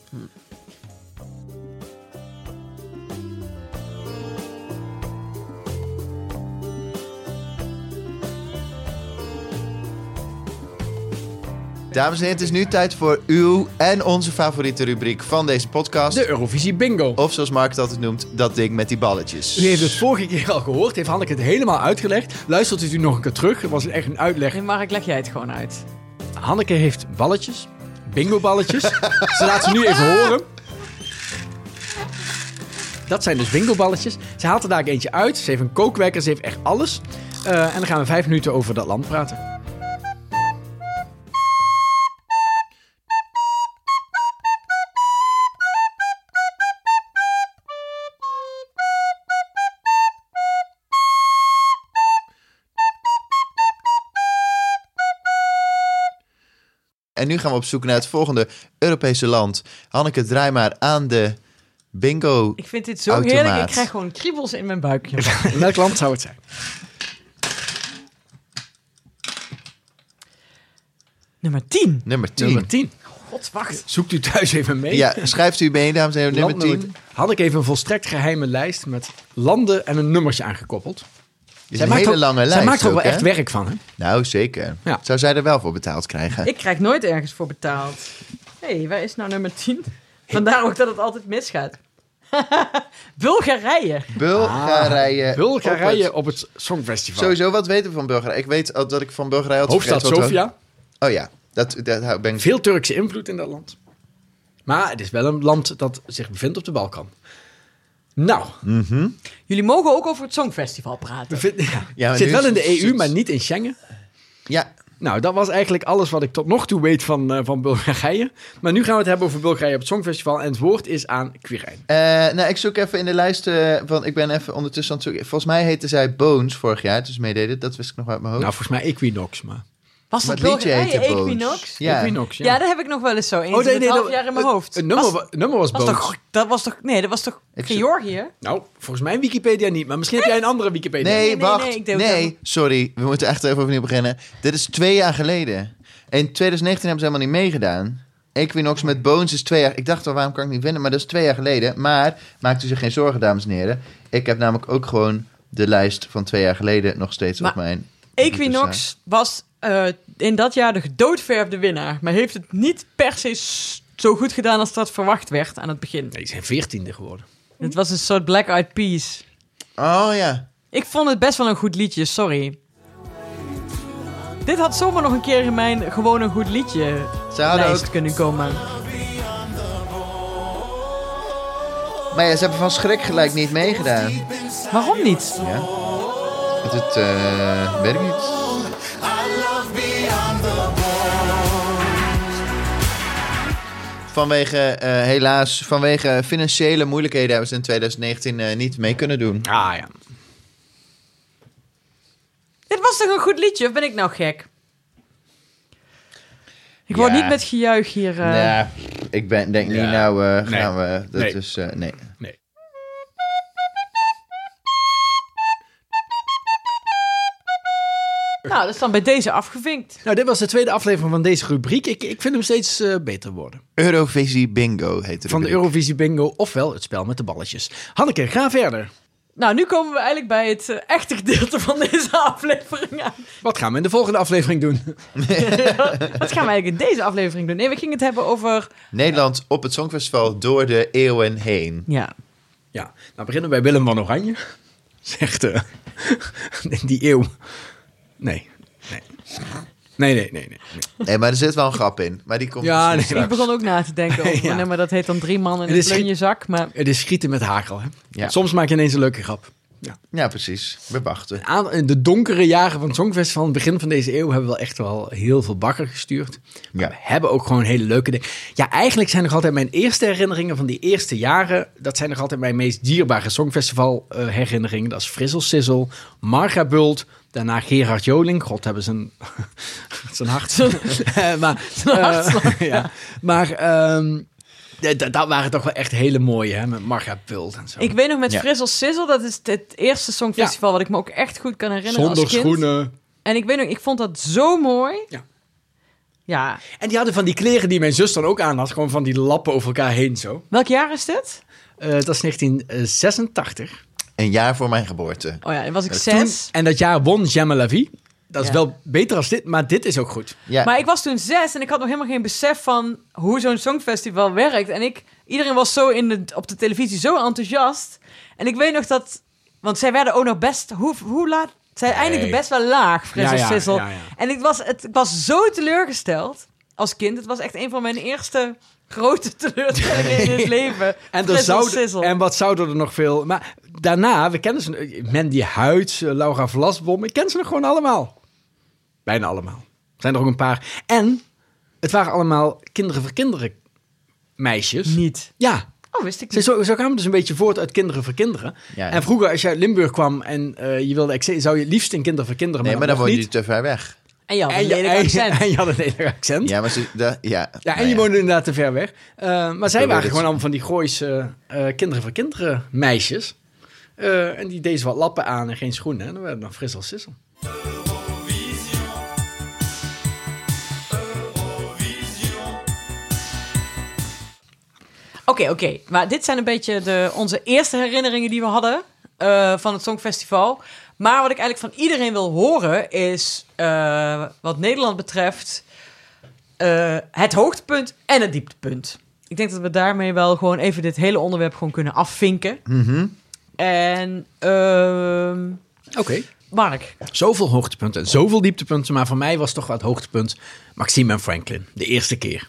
[SPEAKER 4] Dames en heren, het is nu tijd voor uw en onze favoriete rubriek van deze podcast.
[SPEAKER 3] De Eurovisie bingo.
[SPEAKER 4] Of zoals Mark het altijd noemt, dat ding met die balletjes.
[SPEAKER 3] U heeft het vorige keer al gehoord. Heeft Hanneke het helemaal uitgelegd. Luistert u nog een keer terug. Het was echt een uitleg.
[SPEAKER 1] Nee, Mark, leg jij het gewoon uit.
[SPEAKER 3] Hanneke heeft balletjes. Bingo balletjes. ze laat ze nu even horen. Dat zijn dus bingo balletjes. Ze haalt er daar eentje uit. Ze heeft een kookwekker. Ze heeft echt alles. Eh, en dan gaan we vijf minuten over dat land praten.
[SPEAKER 4] En nu gaan we op zoek naar het volgende Europese land. Hanneke, draai maar aan de bingo.
[SPEAKER 1] Ik vind dit zo
[SPEAKER 4] Automaat.
[SPEAKER 1] heerlijk. Ik krijg gewoon kriebels in mijn buik. joh.
[SPEAKER 3] In welk land zou het zijn?
[SPEAKER 1] Nummer 10.
[SPEAKER 4] Nummer 10.
[SPEAKER 3] Nummer 10.
[SPEAKER 1] God, wacht.
[SPEAKER 3] Zoekt u thuis even mee.
[SPEAKER 4] Ja, schrijft u mee, dames en heren.
[SPEAKER 3] Land
[SPEAKER 4] Nummer 10.
[SPEAKER 3] Had ik even een volstrekt geheime lijst met landen en een nummertje aangekoppeld.
[SPEAKER 4] Is een hele
[SPEAKER 3] ook-
[SPEAKER 4] lange lijst.
[SPEAKER 3] Zij maakt er
[SPEAKER 4] ook,
[SPEAKER 3] wel
[SPEAKER 4] hè?
[SPEAKER 3] echt werk van. Hè?
[SPEAKER 4] Nou, zeker.
[SPEAKER 3] Ja.
[SPEAKER 4] Zou zij er wel voor betaald krijgen?
[SPEAKER 1] Ik krijg nooit ergens voor betaald. Hé, hey, waar is nou nummer 10? Vandaar ook dat het altijd misgaat. Bulgarije.
[SPEAKER 3] Ah.
[SPEAKER 4] Bulgarije. op
[SPEAKER 3] Bulgarije
[SPEAKER 4] het-
[SPEAKER 3] op het Songfestival.
[SPEAKER 4] Sowieso, wat weten we van Bulgarije? Ik weet al dat ik van Bulgarije had
[SPEAKER 3] Hoofdstad
[SPEAKER 4] vergeten wat-
[SPEAKER 3] Sofia.
[SPEAKER 4] Oh ja, dat, dat hou- ben ik
[SPEAKER 3] Veel Turkse invloed in dat land. Maar het is wel een land dat zich bevindt op de Balkan. Nou,
[SPEAKER 1] Jullie mogen ook over het Songfestival
[SPEAKER 3] we
[SPEAKER 1] praten.
[SPEAKER 3] vinden- ja,
[SPEAKER 4] Ja, maar
[SPEAKER 3] zit
[SPEAKER 4] nu
[SPEAKER 3] wel
[SPEAKER 4] is-
[SPEAKER 3] in de EU,
[SPEAKER 4] zit-
[SPEAKER 3] maar niet in Schengen.
[SPEAKER 4] Ja,
[SPEAKER 3] Nou, dat was eigenlijk alles wat ik tot nog toe weet van, eh, van Bulgarije. Maar nu gaan we het hebben over Bulgarije op het Songfestival. En het woord is aan Quirijn.
[SPEAKER 4] Eh, nou, ik zoek even in de lijst, eh, want ik ben even ondertussen aan het zoeken. Volgens mij heette zij Bones vorig jaar, dus meededen. Dat wist ik nog uit mijn hoofd.
[SPEAKER 3] Nou, volgens mij Equinox, maar...
[SPEAKER 1] Was
[SPEAKER 4] Maar
[SPEAKER 1] het
[SPEAKER 4] het liedje
[SPEAKER 1] Bulgarije
[SPEAKER 4] heette Bones.
[SPEAKER 1] Equinox?
[SPEAKER 4] Ja.
[SPEAKER 3] Equinox, ja. Oh,
[SPEAKER 1] Ja, dat heb ik nog wel eens zo. Eens in het half
[SPEAKER 3] dat-
[SPEAKER 1] jaar in mijn
[SPEAKER 3] het-
[SPEAKER 1] hoofd.
[SPEAKER 3] Het, nummer,
[SPEAKER 1] was,
[SPEAKER 3] wa- het nummer was,
[SPEAKER 1] was
[SPEAKER 3] boos.
[SPEAKER 1] toch, dat was toch... Nee, dat was toch
[SPEAKER 4] Ik zo-
[SPEAKER 1] Georgië?
[SPEAKER 3] Nou, volgens mij Wikipedia niet, maar misschien heb jij een andere Wikipedia.
[SPEAKER 4] nee,
[SPEAKER 1] nee, nee,
[SPEAKER 4] wacht.
[SPEAKER 1] nee,
[SPEAKER 4] Nee,
[SPEAKER 1] ik deed het helemaal-
[SPEAKER 4] sorry. We moeten echt even opnieuw beginnen. Dit is twee jaar geleden. In 2019 hebben ze helemaal niet meegedaan. Equinox met Bones is twee jaar... Ik dacht al, waarom kan ik niet winnen? Maar dat is twee jaar geleden. Maar maakt u zich geen zorgen, dames en heren. Ik heb namelijk ook gewoon de lijst van twee jaar geleden nog steeds op
[SPEAKER 1] Maar-
[SPEAKER 4] mijn...
[SPEAKER 1] Equinox was eh, in dat jaar de gedoodverfde winnaar. Maar heeft het niet per se s- zo goed gedaan als dat verwacht werd aan het begin.
[SPEAKER 3] Nee, ze zijn veertiende geworden.
[SPEAKER 1] Het was een soort Black Eyed Peas.
[SPEAKER 4] Oh ja.
[SPEAKER 1] Ik vond het best wel een goed liedje, sorry. Dit had zomaar nog een keer in mijn gewoon een goed liedje
[SPEAKER 4] Ze hadden ook...
[SPEAKER 1] lijst kunnen komen.
[SPEAKER 4] Maar ja, ze hebben van schrik gelijk niet meegedaan.
[SPEAKER 1] Waarom niet?
[SPEAKER 4] Ja. Het, het eh, weet ik niet. Vanwege, eh, helaas, vanwege financiële moeilijkheden hebben ze in 2019 eh, niet mee kunnen doen.
[SPEAKER 3] Ah ja.
[SPEAKER 1] Dit was toch een goed liedje, of ben ik nou gek? Ik word
[SPEAKER 4] Ja.
[SPEAKER 1] niet met gejuich hier. eh.
[SPEAKER 4] Ja, ik ben, denk
[SPEAKER 3] Ja.
[SPEAKER 4] niet, nou eh,
[SPEAKER 3] Nee.
[SPEAKER 4] gaan we. Dat
[SPEAKER 3] Nee.
[SPEAKER 4] is, eh, nee.
[SPEAKER 3] Nee.
[SPEAKER 1] Nou, dat is dan bij deze afgevinkt.
[SPEAKER 3] Nou, dit was de tweede aflevering van deze rubriek. Ik, ik vind hem steeds eh, beter worden.
[SPEAKER 4] Eurovisie Bingo heet het.
[SPEAKER 3] Van de Eurovisie Bingo, ofwel het spel met de balletjes. Hanneke, ga verder.
[SPEAKER 1] Nou, nu komen we eigenlijk bij het eh, echte gedeelte van deze aflevering aan.
[SPEAKER 3] Wat gaan we in de volgende aflevering doen?
[SPEAKER 1] Wat gaan we eigenlijk in deze aflevering doen? Nee, we gingen het hebben over...
[SPEAKER 4] Nederland op het Songfestival door de eeuwen heen.
[SPEAKER 1] Ja,
[SPEAKER 3] Ja, nou beginnen we bij Willem van Oranje. Zegt eh, die eeuw. Nee, nee. Nee, nee, nee. nee. nee.
[SPEAKER 4] Nee, Eh, maar er zit wel een grap in. Maar die komt
[SPEAKER 3] Ja,
[SPEAKER 4] misschien
[SPEAKER 3] nee.
[SPEAKER 4] straks.
[SPEAKER 3] Ik
[SPEAKER 1] Ik begon ook na te denken over
[SPEAKER 3] Ja.
[SPEAKER 1] een nummer dat heet dan Drie Mannen in
[SPEAKER 3] Het
[SPEAKER 1] een
[SPEAKER 3] is geen-
[SPEAKER 1] plunje zak. Maar
[SPEAKER 3] Het is schieten met hakel. Hè?
[SPEAKER 4] Ja.
[SPEAKER 3] Soms maak je ineens een leuke grap.
[SPEAKER 4] Ja, precies. We wachten.
[SPEAKER 3] Aan- in de donkere jaren van het Songfestival, aan het begin van deze eeuw, hebben we wel echt wel heel veel bakker gestuurd. Maar
[SPEAKER 4] Ja.
[SPEAKER 3] we hebben ook gewoon hele leuke dingen. Ja, eigenlijk zijn nog altijd mijn eerste herinneringen van die eerste jaren. Dat zijn nog altijd mijn meest dierbare Songfestival eh, herinneringen. Dat is Frizzle Sizzle, Marga Bult, daarna Gerard Joling. God hebben ze een, zijn hart. Eh, maar, eh, ja. maar ehm, d- d- dat waren toch wel echt hele mooie, hè, met Marga Bult en zo.
[SPEAKER 1] ik weet nog met
[SPEAKER 4] Ja.
[SPEAKER 1] Frizzle Sizzle, dat is het eerste songfestival wat ik me ook echt goed kan herinneren
[SPEAKER 3] Zonder
[SPEAKER 1] als kind.
[SPEAKER 3] schoenen.
[SPEAKER 1] En ik weet nog, ik vond dat zo mooi.
[SPEAKER 3] Ja.
[SPEAKER 1] Ja.
[SPEAKER 3] En die hadden van die kleren die mijn zus dan ook aan had. Gewoon van die lappen over elkaar heen zo.
[SPEAKER 1] Welk jaar is dit?
[SPEAKER 3] Eh, dat is 1986.
[SPEAKER 4] Een jaar voor mijn geboorte.
[SPEAKER 1] Oh ja, dan was ik
[SPEAKER 3] Eh, Toen-
[SPEAKER 1] zes.
[SPEAKER 3] en dat jaar won Gemma Lavie. Dat is
[SPEAKER 1] Ja.
[SPEAKER 3] wel beter als dit, maar dit is ook goed.
[SPEAKER 4] Ja,
[SPEAKER 1] Maar ik was toen zes en ik had nog helemaal geen besef van hoe zo'n songfestival werkt. En ik, iedereen was zo in de, op de televisie zo enthousiast. En ik weet nog dat, want zij werden ook nog best, hoe, hoe laat? Zij eindigden best wel laag, Frizzle
[SPEAKER 3] Ja, ja,
[SPEAKER 1] Sizzle.
[SPEAKER 3] ja, ja.
[SPEAKER 1] En ik was, het, ik was zo teleurgesteld als kind. Het was echt een van mijn eerste grote teleurstellingen in het leven.
[SPEAKER 3] En, er
[SPEAKER 1] Frizzle
[SPEAKER 3] zou,
[SPEAKER 1] Sizzle.
[SPEAKER 3] en wat zouden er nog veel... Maar daarna, we kennen ze... Mandy Huids, eh, Laura Vlasbom. Ik ken ze nog gewoon allemaal. Bijna allemaal. Er zijn er ook een paar. En het waren allemaal kinderen voor kinderen meisjes.
[SPEAKER 1] Niet.
[SPEAKER 3] Ja,
[SPEAKER 1] Oh, wist ik
[SPEAKER 3] Ze-
[SPEAKER 1] niet.
[SPEAKER 3] Zo, zo kwamen dus een beetje voort uit Kinderen voor Kinderen.
[SPEAKER 4] Ja.
[SPEAKER 3] En vroeger, als je uit Limburg kwam en eh, je wilde accent, zou je het liefst in Kinderen voor Kinderen,
[SPEAKER 4] nee,
[SPEAKER 3] maar, dat
[SPEAKER 4] maar dan woon
[SPEAKER 3] mocht
[SPEAKER 4] je
[SPEAKER 3] niet.
[SPEAKER 4] te ver weg.
[SPEAKER 1] En ja,
[SPEAKER 3] en,
[SPEAKER 1] een
[SPEAKER 3] je,
[SPEAKER 1] lelijk
[SPEAKER 3] en, je-
[SPEAKER 1] accent.
[SPEAKER 3] en je had een lelijk accent. Ja,
[SPEAKER 4] Ja, maar ze, da- ja.
[SPEAKER 3] en
[SPEAKER 4] Nou
[SPEAKER 3] je woonde inderdaad te ver weg. Eh, maar zij
[SPEAKER 4] weet
[SPEAKER 3] waren
[SPEAKER 4] het.
[SPEAKER 3] gewoon allemaal van die Gooise eh, Kinderen voor Kinderen meisjes. Eh, en die deden ze wat lappen aan en geen schoenen. En dan werden dan fris als sissel.
[SPEAKER 1] Oké, oké. Maar dit zijn een beetje de, onze eerste herinneringen die we hadden eh, van het Songfestival. Maar wat ik eigenlijk van iedereen wil horen is, eh, wat Nederland betreft, eh, het hoogtepunt en het dieptepunt. Ik denk dat we daarmee wel gewoon even dit hele onderwerp gewoon kunnen afvinken.
[SPEAKER 3] Mhm.
[SPEAKER 1] En, ehm,
[SPEAKER 3] Oké.
[SPEAKER 1] Mark,
[SPEAKER 3] Zoveel hoogtepunten en zoveel dieptepunten. Maar voor mij was toch wel het hoogtepunt Maxime en Franklin. De eerste keer.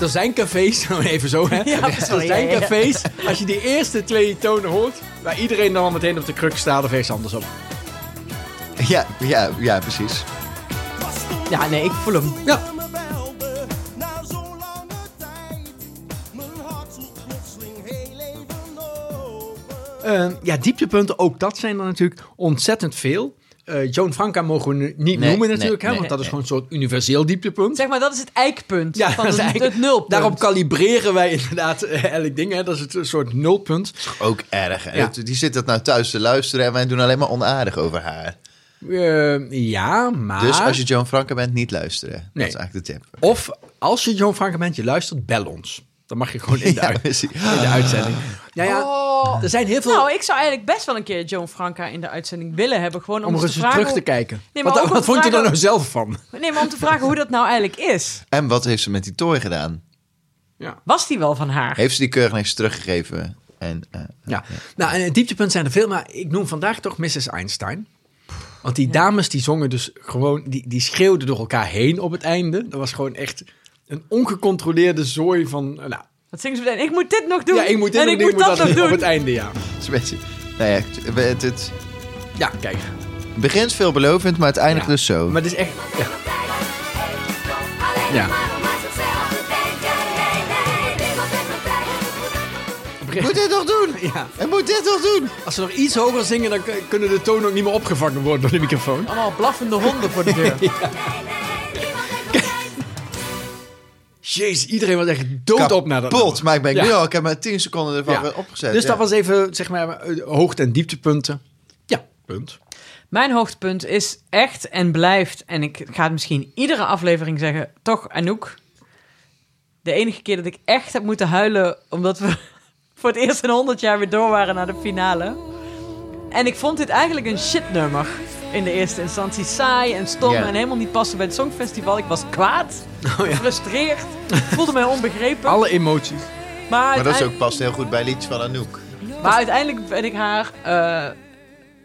[SPEAKER 3] Er zijn cafés, even zo hè.
[SPEAKER 1] Ja, sorry,
[SPEAKER 3] er zijn
[SPEAKER 1] ja, ja, ja.
[SPEAKER 3] cafés, als je die eerste twee tonen hoort, waar iedereen dan al meteen op de kruk staat of ergens anders op.
[SPEAKER 4] ja, ja, ja, precies.
[SPEAKER 1] Ja, nee, ik voel hem.
[SPEAKER 3] Ja. Eh, ja, dieptepunten, ook dat zijn er natuurlijk ontzettend veel. Eh Joan Franca mogen we nu niet
[SPEAKER 4] Nee,
[SPEAKER 3] noemen
[SPEAKER 4] nee,
[SPEAKER 3] natuurlijk, hè,
[SPEAKER 4] nee,
[SPEAKER 3] want dat is
[SPEAKER 4] nee.
[SPEAKER 3] gewoon een soort universeel dieptepunt.
[SPEAKER 1] Zeg maar, dat is het eikpunt van
[SPEAKER 3] dat is
[SPEAKER 1] het,
[SPEAKER 3] eigenlijk-
[SPEAKER 1] het nulpunt.
[SPEAKER 3] Daarop kalibreren wij inderdaad eh, elk ding. Hè? Dat is het een soort nulpunt.
[SPEAKER 4] Ook erg. En
[SPEAKER 3] Ja.
[SPEAKER 4] het- die zit dat nou thuis te luisteren en wij doen alleen maar onaardig over haar.
[SPEAKER 3] Eh, ja, maar...
[SPEAKER 4] Dus als je Joan Franke bent, niet luisteren.
[SPEAKER 3] Ah. Nee.
[SPEAKER 4] Dat is eigenlijk de tip.
[SPEAKER 3] Of als je Joan Frank bent, je luistert, bel ons. Dan mag je gewoon in de,
[SPEAKER 4] Ja,
[SPEAKER 3] uit-
[SPEAKER 4] precies. Ah.
[SPEAKER 3] in de uitzending. Ja, ja, er zijn heel veel...
[SPEAKER 1] Nou, ik zou eigenlijk best wel een keer Joan Franca in de uitzending willen hebben. Gewoon om,
[SPEAKER 3] om er
[SPEAKER 1] eens
[SPEAKER 3] eens
[SPEAKER 1] te vragen
[SPEAKER 3] terug te
[SPEAKER 1] hoe-
[SPEAKER 3] kijken.
[SPEAKER 1] Nee, maar
[SPEAKER 3] wat
[SPEAKER 1] ook om
[SPEAKER 3] wat
[SPEAKER 1] te
[SPEAKER 3] vond je er
[SPEAKER 1] vragen-
[SPEAKER 3] nou zelf van?
[SPEAKER 1] Nee, maar om te vragen hoe dat nou eigenlijk is.
[SPEAKER 4] En wat heeft ze met die tooi gedaan?
[SPEAKER 1] Was die wel van haar?
[SPEAKER 4] Heeft ze die keurgenees teruggegeven? En, eh,
[SPEAKER 3] Ja. Nou, en het dieptepunt zijn er veel, maar ik noem vandaag toch Mrs. Einstein. Want die dames die zongen dus gewoon, die, die schreeuwden door elkaar heen op het einde. Dat was gewoon echt een ongecontroleerde zooi van, eh, nou,
[SPEAKER 1] Wat zingen ze meteen? Ik moet dit nog doen.
[SPEAKER 3] ja, ik moet dit
[SPEAKER 1] en
[SPEAKER 3] doen,
[SPEAKER 1] ik moet dat, nog
[SPEAKER 3] op het
[SPEAKER 1] doen.
[SPEAKER 3] einde, ja.
[SPEAKER 4] het is een beetje- nou ja, het, het, het
[SPEAKER 3] Ja, kijk.
[SPEAKER 4] begint veelbelovend, maar het eindigt dus zo.
[SPEAKER 3] Maar het is echt, ja. Ja.
[SPEAKER 4] Moet dit nog doen?
[SPEAKER 3] Ja.
[SPEAKER 4] En moet dit nog doen?
[SPEAKER 3] Als ze nog iets hoger zingen, dan k- kunnen de tonen ook niet meer opgevangen worden door de microfoon.
[SPEAKER 1] Allemaal blaffende honden voor de deur.
[SPEAKER 3] Jezus, iedereen was echt dood op naar dat.
[SPEAKER 4] Kapot, maar ik ben
[SPEAKER 3] Ja.
[SPEAKER 4] nu al, ik heb maar 10 seconden ervan
[SPEAKER 3] Ja.
[SPEAKER 4] weer opgezet.
[SPEAKER 3] Dus dat
[SPEAKER 4] ja.
[SPEAKER 3] was even, zeg maar, eh, hoogte- en dieptepunten. Ja, punt.
[SPEAKER 1] Mijn hoogtepunt is echt en blijft, en ik ga het misschien iedere aflevering zeggen, toch Anouk. De enige keer dat ik echt heb moeten huilen, omdat we voor het eerst in 100 jaar weer door waren naar de finale. En ik vond dit eigenlijk een shitnummer in de eerste instantie. Saai en stom
[SPEAKER 4] Ja. Oh
[SPEAKER 1] en helemaal niet passen bij het Songfestival. Ik was kwaad, gefrustreerd, voelde mij onbegrepen.
[SPEAKER 3] Alle
[SPEAKER 1] maar
[SPEAKER 3] emoties.
[SPEAKER 4] Maar dat is
[SPEAKER 1] uiteindelijk-
[SPEAKER 4] ook past heel goed bij liedjes van Anouk.
[SPEAKER 1] Maar uiteindelijk ben ik haar eh,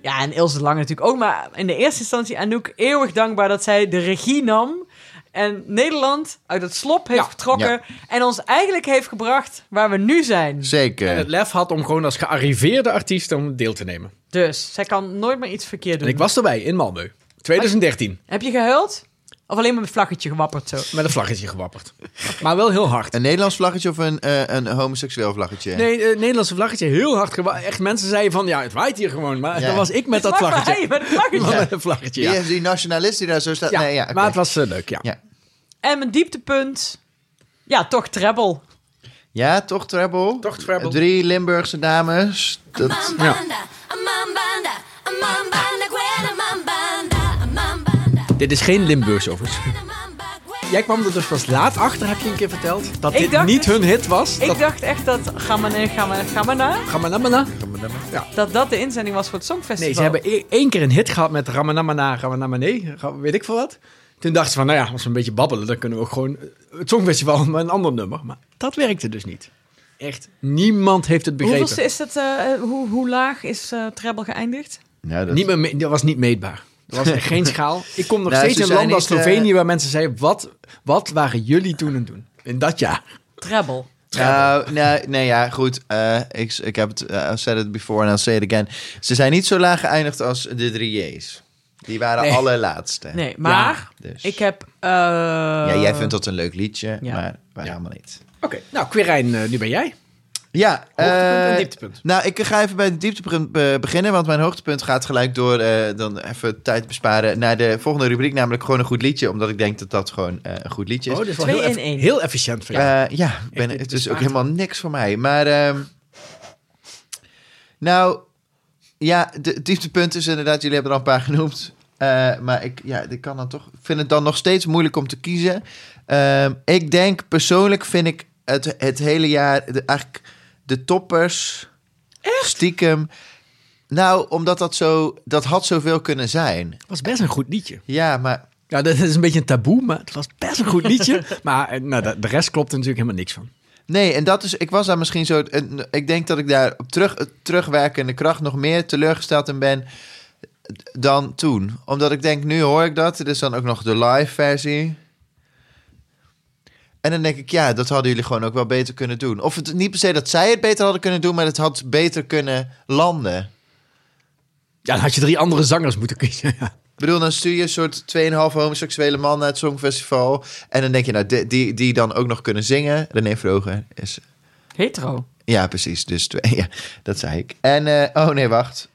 [SPEAKER 1] Ja, en Ilse de Lange natuurlijk ook. Maar in de eerste instantie Anouk eeuwig dankbaar dat zij de regie nam. En Nederland uit het slop heeft getrokken.
[SPEAKER 4] Ja.
[SPEAKER 1] En ons eigenlijk heeft gebracht waar we nu zijn.
[SPEAKER 3] En het
[SPEAKER 4] Zeker.
[SPEAKER 3] lef had om gewoon als gearriveerde artiest om deel te nemen.
[SPEAKER 1] Dus zij kan nooit meer iets verkeerd
[SPEAKER 3] En
[SPEAKER 1] doen.
[SPEAKER 3] ik was erbij in Malmö. 2013.
[SPEAKER 1] Heb je gehuild? Of alleen maar een vlaggetje gewapperd zo?
[SPEAKER 3] Met een vlaggetje gewapperd. Maar wel heel hard.
[SPEAKER 4] Een Nederlands vlaggetje of een, eh, een homoseksueel vlaggetje?
[SPEAKER 3] Nee, het Nederlandse vlaggetje heel hard gewapperd. Echt mensen zeiden van, ja, het waait hier gewoon. Maar
[SPEAKER 4] Ja.
[SPEAKER 3] dan was ik met dat
[SPEAKER 1] Vlak bij
[SPEAKER 3] vlaggetje.
[SPEAKER 1] hij, met het vlaggetje.
[SPEAKER 3] Met een vlaggetje,
[SPEAKER 4] Die,
[SPEAKER 3] ja.
[SPEAKER 4] heeft die nationalist die daar zo staat.
[SPEAKER 3] Ja,
[SPEAKER 4] nee, ja, oké.
[SPEAKER 3] Maar het was eh, leuk, ja.
[SPEAKER 4] ja.
[SPEAKER 1] En mijn dieptepunt. Ja, toch treble.
[SPEAKER 4] ja, toch treble?
[SPEAKER 3] Toch treble.
[SPEAKER 4] Drie Limburgse dames. Dat,
[SPEAKER 2] Amambanda, amambanda, amambanda, Gwen, amambanda, amambanda,
[SPEAKER 3] Dit is geen Limburgs overigens.
[SPEAKER 2] amamba, Gwen.
[SPEAKER 3] Jij kwam er dus pas laat achter, heb je een keer verteld. Dat
[SPEAKER 1] Ik
[SPEAKER 3] dit
[SPEAKER 1] dacht
[SPEAKER 3] niet
[SPEAKER 1] dus-
[SPEAKER 3] hun hit was.
[SPEAKER 1] Ik
[SPEAKER 3] dat...
[SPEAKER 1] dacht echt dat ga maar nee, ga maar nee, ga maar na.
[SPEAKER 3] Ramanamana.
[SPEAKER 1] Dat dat de inzending was voor het Songfestival.
[SPEAKER 3] Nee, ze hebben e- één keer een hit gehad met Ramanamana, Ramanamane, ra- weet ik veel wat. Toen dachten ze van, nou ja, als we een beetje babbelen, dan kunnen we ook gewoon het Songfestival met een ander nummer. Maar dat werkte dus niet. Echt, niemand heeft het begrepen.
[SPEAKER 1] Hoeveelste is het, eh, hoe, hoe laag is eh treble geëindigd?
[SPEAKER 4] nou, dat
[SPEAKER 3] Niet meer me- dat was niet meetbaar. Er was echt geen schaal. Ik kom nog
[SPEAKER 4] Nou,
[SPEAKER 3] steeds
[SPEAKER 4] ze
[SPEAKER 3] in
[SPEAKER 4] zijn
[SPEAKER 3] landen als
[SPEAKER 4] niet, eh,
[SPEAKER 3] Slovenië waar mensen zeiden, wat, wat waren jullie toen aan het doen? In dat jaar.
[SPEAKER 1] Treble.
[SPEAKER 4] Nou, nee, nee, ja, goed. Eh, ik, ik heb het, eh, I said it before and I'll say it again. Ze zijn niet zo laag geëindigd als de drie J's. Die waren
[SPEAKER 3] Nee. eh,
[SPEAKER 4] allerlaatste.
[SPEAKER 1] Nee, maar
[SPEAKER 4] Dus.
[SPEAKER 1] ik heb... eh,
[SPEAKER 4] ja, jij vindt dat een leuk liedje,
[SPEAKER 1] Ja.
[SPEAKER 4] maar wij helemaal niet.
[SPEAKER 3] Oké, nou Quirijn, eh, nu ben jij.
[SPEAKER 4] Ja,
[SPEAKER 3] Hoogtepunt en
[SPEAKER 4] eh,
[SPEAKER 3] dieptepunt.
[SPEAKER 4] Nou, ik ga even bij het dieptepunt eh, beginnen, want mijn hoogtepunt gaat gelijk door, eh, dan even tijd besparen, naar de volgende rubriek, namelijk gewoon een goed liedje, omdat ik denk dat dat gewoon eh, een goed liedje is.
[SPEAKER 3] Oh, dit is
[SPEAKER 1] Twee
[SPEAKER 3] heel,
[SPEAKER 1] in
[SPEAKER 3] eff-
[SPEAKER 1] één.
[SPEAKER 3] heel efficiënt van jou.
[SPEAKER 4] Eh, Ja, ja ik dus ben,
[SPEAKER 3] dit
[SPEAKER 4] het is
[SPEAKER 3] bespaart.
[SPEAKER 4] ook helemaal niks voor mij. Maar, ehm, nou, ja, de het dieptepunt is inderdaad, jullie hebben er al een paar genoemd. Eh, maar ik, ja, ik kan dan toch, ik vind het dan nog steeds moeilijk om te kiezen. Ehm, ik denk, persoonlijk vind ik het, het hele jaar, de, eigenlijk de toppers, stiekem. Nou, omdat dat zo, dat had zoveel kunnen zijn.
[SPEAKER 3] Het was best een goed liedje.
[SPEAKER 4] Ja, maar
[SPEAKER 3] Ja, dat is een beetje een taboe, maar het was best een goed liedje. maar eh, nou, de, de rest klopt er natuurlijk helemaal niks van.
[SPEAKER 4] Nee, en dat is, ik was daar misschien zo. en Ik denk dat ik daar op terug, terugwerkende kracht nog meer teleurgesteld in ben dan toen. Omdat ik denk, nu hoor ik dat. Het is dan ook nog de live versie. En dan denk ik, ja, dat hadden jullie gewoon ook wel beter kunnen doen. Of het niet per se dat zij het beter hadden kunnen doen, maar het had beter kunnen landen.
[SPEAKER 3] Ja, dan had je drie andere zangers moeten kiezen. Ja.
[SPEAKER 4] Ik bedoel, dan stuur je een soort 2,5 homoseksuele man naar het Songfestival. En dan denk je, nou, die, die, die dan ook nog kunnen zingen. René Vroger is
[SPEAKER 1] Hetero.
[SPEAKER 4] Ja, precies. Dus twee, ja, dat zei ik. En, eh, oh nee, wacht.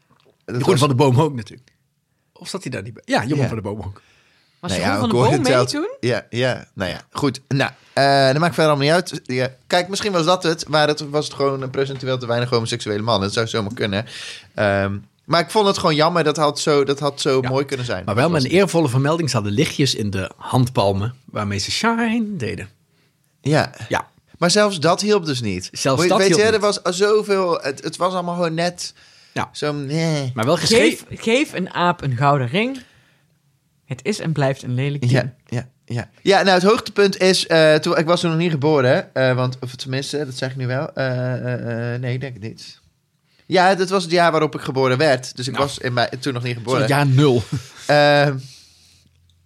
[SPEAKER 4] Dat
[SPEAKER 3] Jeroen
[SPEAKER 4] was-
[SPEAKER 3] van de Boom ook natuurlijk. Of zat hij daar niet bij? Ja, Jeroen
[SPEAKER 4] Ja.
[SPEAKER 3] van de Boom ook.
[SPEAKER 1] Was
[SPEAKER 4] Nou
[SPEAKER 1] nou
[SPEAKER 4] ja,
[SPEAKER 1] van de
[SPEAKER 4] ik hoorde
[SPEAKER 1] Boom mee
[SPEAKER 4] het wel.
[SPEAKER 1] toen?
[SPEAKER 4] Ja, ja, nou ja, goed. Nou, eh dat maakt verder allemaal niet uit. Ja. Kijk, misschien was dat het, maar het was het gewoon een procentueel te weinig homoseksuele man. Dat zou zomaar kunnen. Ehm, maar ik vond het gewoon jammer, dat had zo, dat had zo
[SPEAKER 3] Ja.
[SPEAKER 4] mooi kunnen zijn.
[SPEAKER 3] Maar wel
[SPEAKER 4] Dat
[SPEAKER 3] met
[SPEAKER 4] was
[SPEAKER 3] een eervolle vermelding. Ze hadden lichtjes in de handpalmen waarmee ze shine deden.
[SPEAKER 4] het. Ja.
[SPEAKER 3] Ja,
[SPEAKER 4] Maar zelfs dat hielp dus niet.
[SPEAKER 3] Zelfs
[SPEAKER 4] Weet-
[SPEAKER 3] dat
[SPEAKER 4] Weet
[SPEAKER 3] hielp
[SPEAKER 4] je, er
[SPEAKER 3] niet.
[SPEAKER 4] was zoveel... Het, het was allemaal gewoon net eh.
[SPEAKER 3] Ja.
[SPEAKER 4] zo... Nee.
[SPEAKER 3] maar wel
[SPEAKER 1] Geef,
[SPEAKER 3] geschreven.
[SPEAKER 1] geef een aap een gouden ring. Het is en blijft een lelijk ding.
[SPEAKER 4] Ja, ja, ja. Ja, nou, het hoogtepunt is... eh, toen, ik was toen nog niet geboren, eh, want, of tenminste, dat zeg ik nu wel. Eh, eh, eh, nee, ik denk het niet. Ja, dat was het jaar waarop ik geboren werd. Dus ik was in mijn, toen nog niet
[SPEAKER 3] Zo'n
[SPEAKER 4] geboren.
[SPEAKER 3] jaar nul.
[SPEAKER 4] Ehm,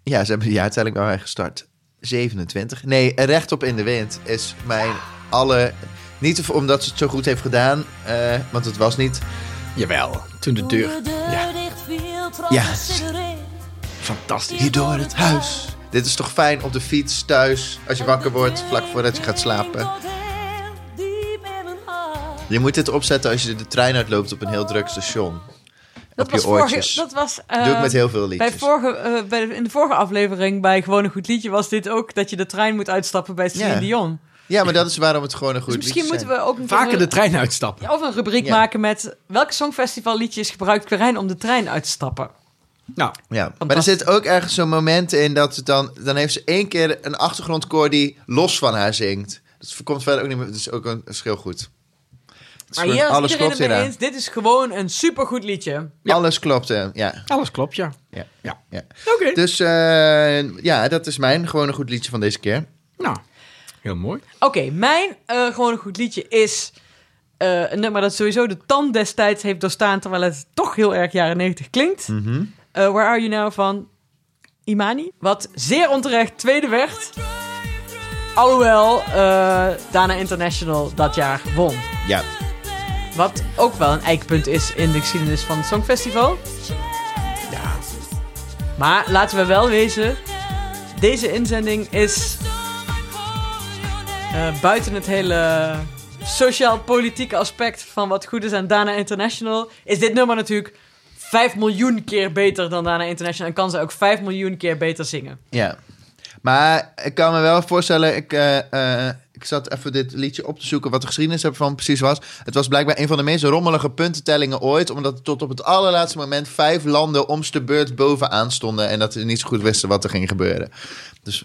[SPEAKER 4] ja, ze hebben de jaartelling bij mij gestart. 27. Nee, eh, Rechtop in de Wind is mijn alle... Niet of- omdat ze het zo goed heeft gedaan, eh, want het was niet.
[SPEAKER 3] Jawel, toen de deur. Ja,
[SPEAKER 4] Ja.
[SPEAKER 3] fantastisch.
[SPEAKER 4] Hier door het huis. Dit is toch fijn op de fiets, thuis, als je wakker wordt, vlak voordat je gaat slapen. Je moet dit opzetten als je de trein uitloopt op een heel druk station.
[SPEAKER 1] Dat
[SPEAKER 4] op
[SPEAKER 1] was
[SPEAKER 4] je oortjes.
[SPEAKER 1] Vorige, dat was,
[SPEAKER 4] Doe ik
[SPEAKER 1] eh,
[SPEAKER 4] met heel veel
[SPEAKER 1] bij
[SPEAKER 4] liedjes.
[SPEAKER 1] vorige, eh, bij de- in de vorige aflevering bij Gewoon een Goed Liedje was dit ook dat je de trein moet uitstappen bij Celine
[SPEAKER 4] Ja.
[SPEAKER 1] Dion.
[SPEAKER 4] Ja, maar dat is waarom het gewoon een goed
[SPEAKER 1] Dus misschien
[SPEAKER 4] liedje
[SPEAKER 1] moeten we ook een
[SPEAKER 3] Vaker de trein uitstappen.
[SPEAKER 1] Ja, Of een rubriek
[SPEAKER 4] Ja.
[SPEAKER 1] maken met welke songfestivalliedjes gebruikt Quirijn om de trein uit te stappen.
[SPEAKER 3] Nou,
[SPEAKER 4] Ja, maar er zit ook ergens zo'n moment in dat het dan... Dan heeft ze één keer een achtergrondkoor die los van haar zingt. Dat komt verder ook niet meer... Dat is ook een verschil goed. Het is
[SPEAKER 1] Maar
[SPEAKER 4] gewoon-
[SPEAKER 1] hier is
[SPEAKER 4] alles
[SPEAKER 1] iedereen
[SPEAKER 4] klopt
[SPEAKER 1] het mee
[SPEAKER 4] hieraan.
[SPEAKER 1] eens. Dit is gewoon een supergoed liedje.
[SPEAKER 3] Ja.
[SPEAKER 4] Alles klopt, eh, ja.
[SPEAKER 3] alles klopt, ja.
[SPEAKER 4] ja.
[SPEAKER 3] Ja.
[SPEAKER 4] ja.
[SPEAKER 3] Oké.
[SPEAKER 4] Dus eh, ja, dat is mijn gewoon een goed liedje van deze keer.
[SPEAKER 3] Nou, heel mooi.
[SPEAKER 1] Oké, mijn eh, gewoon een goed liedje is eh, een nummer dat sowieso de tand destijds heeft doorstaan... terwijl het toch heel erg jaren 90 klinkt.
[SPEAKER 4] Mhm.
[SPEAKER 1] Eh, Where Are You Now van Imani. Wat zeer onterecht tweede werd. Alhoewel eh, Dana International dat jaar won.
[SPEAKER 4] Ja,
[SPEAKER 1] Wat ook wel een eikpunt is in de geschiedenis van het Songfestival.
[SPEAKER 3] Ja.
[SPEAKER 1] Maar laten we wel wezen, deze inzending is eh, buiten het hele sociaal-politieke aspect van wat goed is aan Dana International, is dit nummer natuurlijk 5 miljoen keer beter dan Dana International en kan ze ook 5 miljoen keer beter zingen.
[SPEAKER 4] ja. Maar ik kan me wel voorstellen, ik, eh, eh, ik zat even dit liedje op te zoeken, wat de geschiedenis ervan precies was. Het was blijkbaar een van de meest rommelige puntentellingen ooit, omdat tot op het allerlaatste moment vijf landen om de beurt bovenaan stonden en dat ze niet zo goed wisten wat er ging gebeuren. Dus...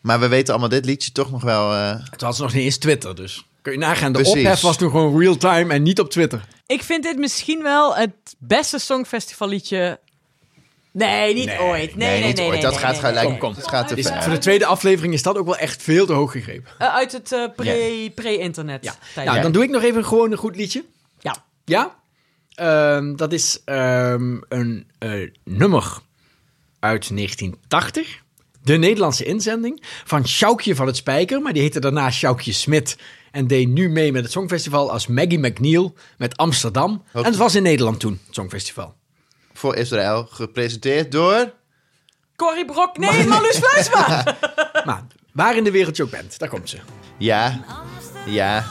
[SPEAKER 4] Maar we weten allemaal dit liedje toch nog wel. eh,
[SPEAKER 3] Het was nog niet eens Twitter, dus kun je nagaan. De
[SPEAKER 4] Precies.
[SPEAKER 3] ophef was toen gewoon real-time en niet op Twitter.
[SPEAKER 1] Ik vind dit misschien wel het beste Songfestivalliedje. Nee, niet
[SPEAKER 3] Nee,
[SPEAKER 1] ooit. Nee,
[SPEAKER 4] nee,
[SPEAKER 1] nee,
[SPEAKER 4] niet
[SPEAKER 1] nee,
[SPEAKER 4] ooit.
[SPEAKER 1] nee,
[SPEAKER 4] dat
[SPEAKER 1] nee,
[SPEAKER 4] gaat
[SPEAKER 1] nee,
[SPEAKER 4] gelijk.
[SPEAKER 1] nee.
[SPEAKER 3] Kom, kom.
[SPEAKER 4] Dat gaat te
[SPEAKER 3] Is-
[SPEAKER 4] ver.
[SPEAKER 3] voor de tweede aflevering is dat ook wel echt veel te hoog gegrepen.
[SPEAKER 1] Eh, uit het eh, pre- pre-internet.
[SPEAKER 3] Ja.
[SPEAKER 1] tijdperk.
[SPEAKER 3] Nou, dan doe ik nog even gewoon een goed liedje.
[SPEAKER 1] Ja.
[SPEAKER 3] Ja? Ehm, dat is ehm, een eh, nummer uit 1980. De Nederlandse inzending van Sjoukje van het Spijker. Maar die heette daarna Sjoukje Smit. En deed nu mee met het Songfestival als Maggie McNeil met Amsterdam.
[SPEAKER 4] Wat-
[SPEAKER 3] En het was in Nederland toen, het Songfestival.
[SPEAKER 4] Voor Israël, gepresenteerd door.
[SPEAKER 1] Corrie Brok, nee, Marloes Fluisma.
[SPEAKER 3] maar waar in de wereld je ook bent, daar komt ze.
[SPEAKER 4] Ja. Ja.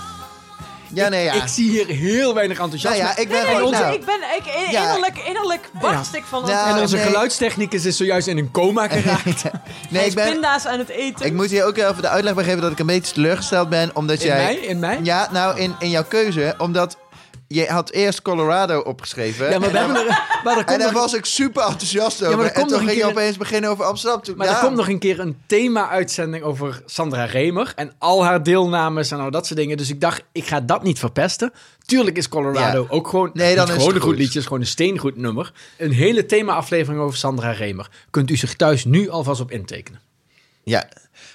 [SPEAKER 4] Ja, nee, ja.
[SPEAKER 3] Ik zie hier heel weinig
[SPEAKER 4] Nou
[SPEAKER 3] enthousiasme.
[SPEAKER 4] ja, ik ben
[SPEAKER 1] Nee, nee,
[SPEAKER 4] gewoon...
[SPEAKER 1] ik-
[SPEAKER 4] nou,
[SPEAKER 1] ik ben ik, in-
[SPEAKER 4] Ja.
[SPEAKER 1] innerlijk, innerlijk barst ik van
[SPEAKER 4] Ja.
[SPEAKER 1] ja.
[SPEAKER 3] En onze
[SPEAKER 4] nee.
[SPEAKER 3] geluidstechnicus is zojuist in een coma geraakt.
[SPEAKER 4] nee, ik ben...
[SPEAKER 1] pinda's aan het eten.
[SPEAKER 4] Ik moet je ook even de uitleg bij geven dat ik een beetje teleurgesteld ben, omdat
[SPEAKER 3] In
[SPEAKER 4] jij...
[SPEAKER 3] mij? In mij?
[SPEAKER 4] Ja, nou, in, in jouw keuze, omdat je had eerst Colorado opgeschreven.
[SPEAKER 3] Ja, maar we hebben er... Maar er komt
[SPEAKER 4] En
[SPEAKER 3] nog-
[SPEAKER 4] daar was ik super enthousiast over.
[SPEAKER 3] maar er
[SPEAKER 4] en
[SPEAKER 3] komt
[SPEAKER 4] toen
[SPEAKER 3] nog een
[SPEAKER 4] ging je
[SPEAKER 3] keer-
[SPEAKER 4] opeens beginnen over Amsterdam. Nou, Toen,
[SPEAKER 3] Maar
[SPEAKER 4] ja,
[SPEAKER 3] er komt nog een keer een thema-uitzending over Sandra Remer. En al haar deelnames en al dat soort dingen. Dus ik dacht, ik ga dat niet verpesten. Tuurlijk is Colorado
[SPEAKER 4] Ja.
[SPEAKER 3] ook gewoon...
[SPEAKER 4] Nee, dan
[SPEAKER 3] niet
[SPEAKER 4] is het
[SPEAKER 3] gewoon een goed
[SPEAKER 4] goed.
[SPEAKER 3] liedje, is gewoon een steengoed nummer. Een hele thema-aflevering over Sandra Remer. Kunt u zich thuis nu alvast op intekenen.
[SPEAKER 4] Ja.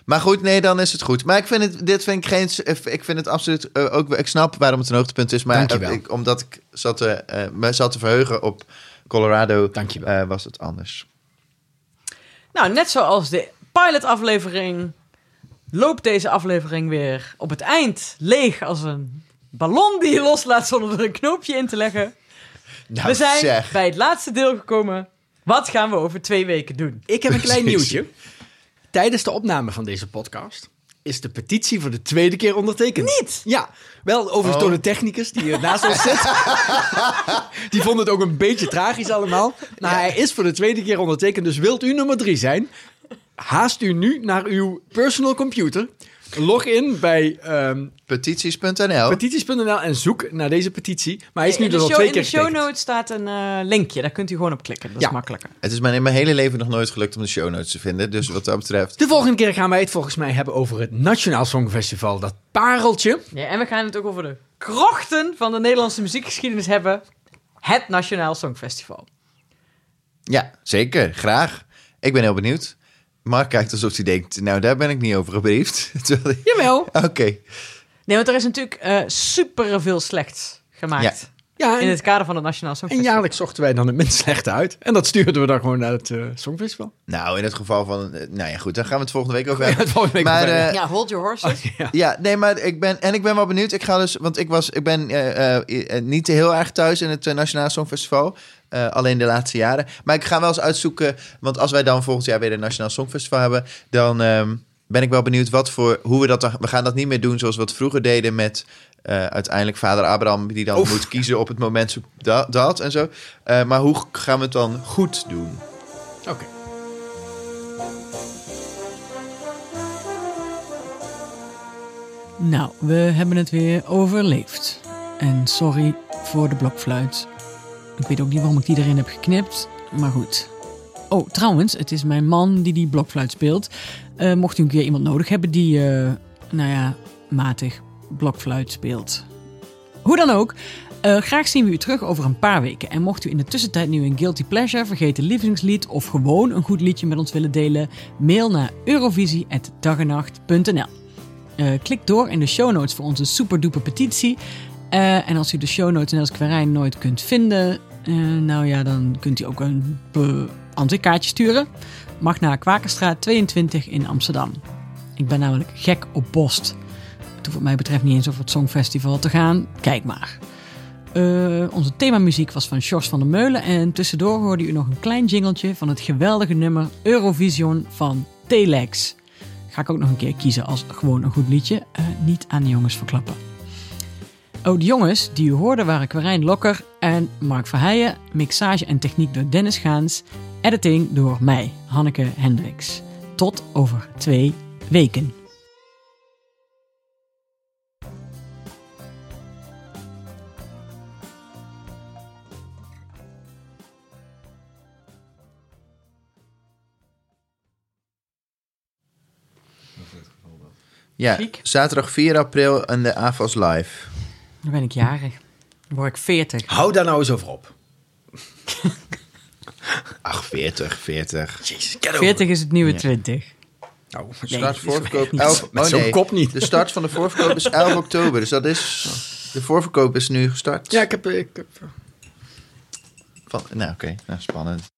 [SPEAKER 4] Maar goed, nee, dan is het goed. Maar ik vind het, dit vind ik geen... Ik vind het absoluut eh, ook... Ik snap waarom het een hoogtepunt is, maar
[SPEAKER 3] Dankjewel.
[SPEAKER 4] eh, ik- omdat ik zat te, eh, me zat te verheugen op Colorado,
[SPEAKER 3] Dankjewel.
[SPEAKER 4] eh, was het anders.
[SPEAKER 1] Nou, net zoals de pilotaflevering loopt deze aflevering weer op het eind leeg als een ballon die je loslaat zonder er een knoopje in te leggen.
[SPEAKER 4] Nou,
[SPEAKER 1] we zijn
[SPEAKER 4] zeg.
[SPEAKER 1] bij het laatste deel gekomen. Wat gaan we over twee weken doen?
[SPEAKER 3] Ik heb een klein
[SPEAKER 4] Precies.
[SPEAKER 3] nieuwtje. Tijdens de opname van deze podcast is de petitie voor de tweede keer ondertekend.
[SPEAKER 1] Niet!
[SPEAKER 3] Ja, wel overigens
[SPEAKER 4] Oh.
[SPEAKER 3] door de technicus die hier naast ons zit. die vond het ook een beetje tragisch allemaal. Maar hij is voor de tweede keer ondertekend, dus wilt u nummer drie zijn? Haast u nu naar uw personal computer. Log in bij ehm,
[SPEAKER 1] Oh.
[SPEAKER 4] Petities.nl.
[SPEAKER 3] petities.nl en zoek naar deze petitie. Maar hij is nu
[SPEAKER 1] in de
[SPEAKER 3] dus al
[SPEAKER 1] show,
[SPEAKER 3] twee
[SPEAKER 1] in de
[SPEAKER 3] keer
[SPEAKER 1] show
[SPEAKER 3] getekend.
[SPEAKER 1] notes staat een eh, linkje, daar kunt u gewoon op klikken. Dat
[SPEAKER 3] Ja.
[SPEAKER 1] is makkelijker.
[SPEAKER 4] Het is mij in mijn hele leven nog nooit gelukt om de show notes te vinden. Dus wat dat betreft.
[SPEAKER 3] De volgende keer gaan wij het volgens mij hebben over het Nationaal Songfestival. Dat pareltje.
[SPEAKER 1] Ja, en we gaan het ook over de krochten van de Nederlandse muziekgeschiedenis hebben. Het Nationaal Songfestival.
[SPEAKER 4] Ja, zeker. Graag. Ik ben heel benieuwd. Mark kijkt alsof hij denkt: Nou, daar ben ik niet over gebriefd. Terwijl hij-
[SPEAKER 3] Jawel.
[SPEAKER 4] Oké.
[SPEAKER 1] Nee, want er is natuurlijk eh super veel slechts gemaakt.
[SPEAKER 3] Ja,
[SPEAKER 1] In
[SPEAKER 3] en-
[SPEAKER 1] het kader van het Nationaal
[SPEAKER 3] En
[SPEAKER 1] Songfestival.
[SPEAKER 3] jaarlijks zochten wij dan het minst slechte uit. En dat stuurden we dan gewoon naar het eh, Songfestival.
[SPEAKER 4] Nou, in het geval van. eh, Nou ja, goed. Dan gaan we het volgende week over
[SPEAKER 3] Ja, het
[SPEAKER 4] hebben.
[SPEAKER 3] volgende week
[SPEAKER 4] maar,
[SPEAKER 3] over
[SPEAKER 4] eh,
[SPEAKER 3] hebben.
[SPEAKER 1] Ja, hold your horses.
[SPEAKER 4] Ja, nee, maar ik ben, en ik ben wel benieuwd. Ik ga dus, want ik was, ik ben eh, eh, eh, niet heel erg thuis in het eh, Nationaal Songfestival. Eh, alleen de laatste jaren. Maar ik ga wel eens uitzoeken, want als wij dan volgend jaar weer een Nationaal Songfestival hebben, dan ehm, ben ik wel benieuwd wat voor, hoe we dat dan, we gaan dat niet meer doen zoals we het vroeger deden met eh, uiteindelijk vader Abraham, die dan
[SPEAKER 3] Oef.
[SPEAKER 4] moet kiezen op het moment zo- dat, dat en zo. Eh, maar hoe gaan we het dan goed doen?
[SPEAKER 3] Oké.
[SPEAKER 5] Nou, we hebben het weer overleefd. En sorry voor de blokfluit. Ik weet ook niet waarom ik die erin heb geknipt, maar goed. Oh, trouwens, het is mijn man die die blokfluit speelt. Eh, mocht u een keer iemand nodig hebben die, eh, nou ja, matig blokfluit speelt. Hoe dan ook, eh, graag zien we u terug over een paar weken. En mocht u in de tussentijd nu een Guilty Pleasure, vergeten lievelingslied of gewoon een goed liedje met ons willen delen, mail naar eurovisie.dagenacht.nl.
[SPEAKER 1] Eh, klik door in de show notes voor onze superduper petitie. Eh, en als u de show notes net als Querijn nooit kunt vinden, eh, nou ja, dan kunt u ook een anti-kaartje sturen. Mag naar Kwakerstraat 22 in Amsterdam. Ik ben namelijk gek op Bost. Het hoeft wat mij betreft niet eens over het Songfestival te gaan. Kijk maar. Eh, onze themamuziek was van Sjors van der Meulen. En tussendoor hoorde u nog een klein jingeltje van het geweldige nummer Eurovision van Telex. Ga ik ook nog een keer kiezen als gewoon een goed liedje. Eh, niet aan de jongens verklappen. Oh, de jongens die u hoorde waren Querijn Lokker en Mark Verheijen. Mixage en techniek door Dennis Gaans. Editing door mij, Hanneke Hendricks. Tot over twee weken.
[SPEAKER 4] Ja,
[SPEAKER 6] Chic.
[SPEAKER 4] zaterdag 4 april aan de AFAS Live.
[SPEAKER 1] Dan ben ik jarig.
[SPEAKER 6] Dan word ik 40.
[SPEAKER 3] Hou daar nou eens over op.
[SPEAKER 4] Ach, 40, 40.
[SPEAKER 3] Jezus, get over.
[SPEAKER 1] 40 is het nieuwe 20.
[SPEAKER 3] Nou,
[SPEAKER 4] Start voorverkoop
[SPEAKER 3] met
[SPEAKER 4] 11...
[SPEAKER 3] met
[SPEAKER 4] oh,
[SPEAKER 3] zo'n
[SPEAKER 4] nee.
[SPEAKER 3] kop niet.
[SPEAKER 4] De start van de voorverkoop is 11 oktober. Dus dat is... De
[SPEAKER 3] eh,
[SPEAKER 4] voorverkoop is nu gestart.
[SPEAKER 3] Ja, ik heb... Ik heb
[SPEAKER 4] Van, nou, oké. Nou, spannend.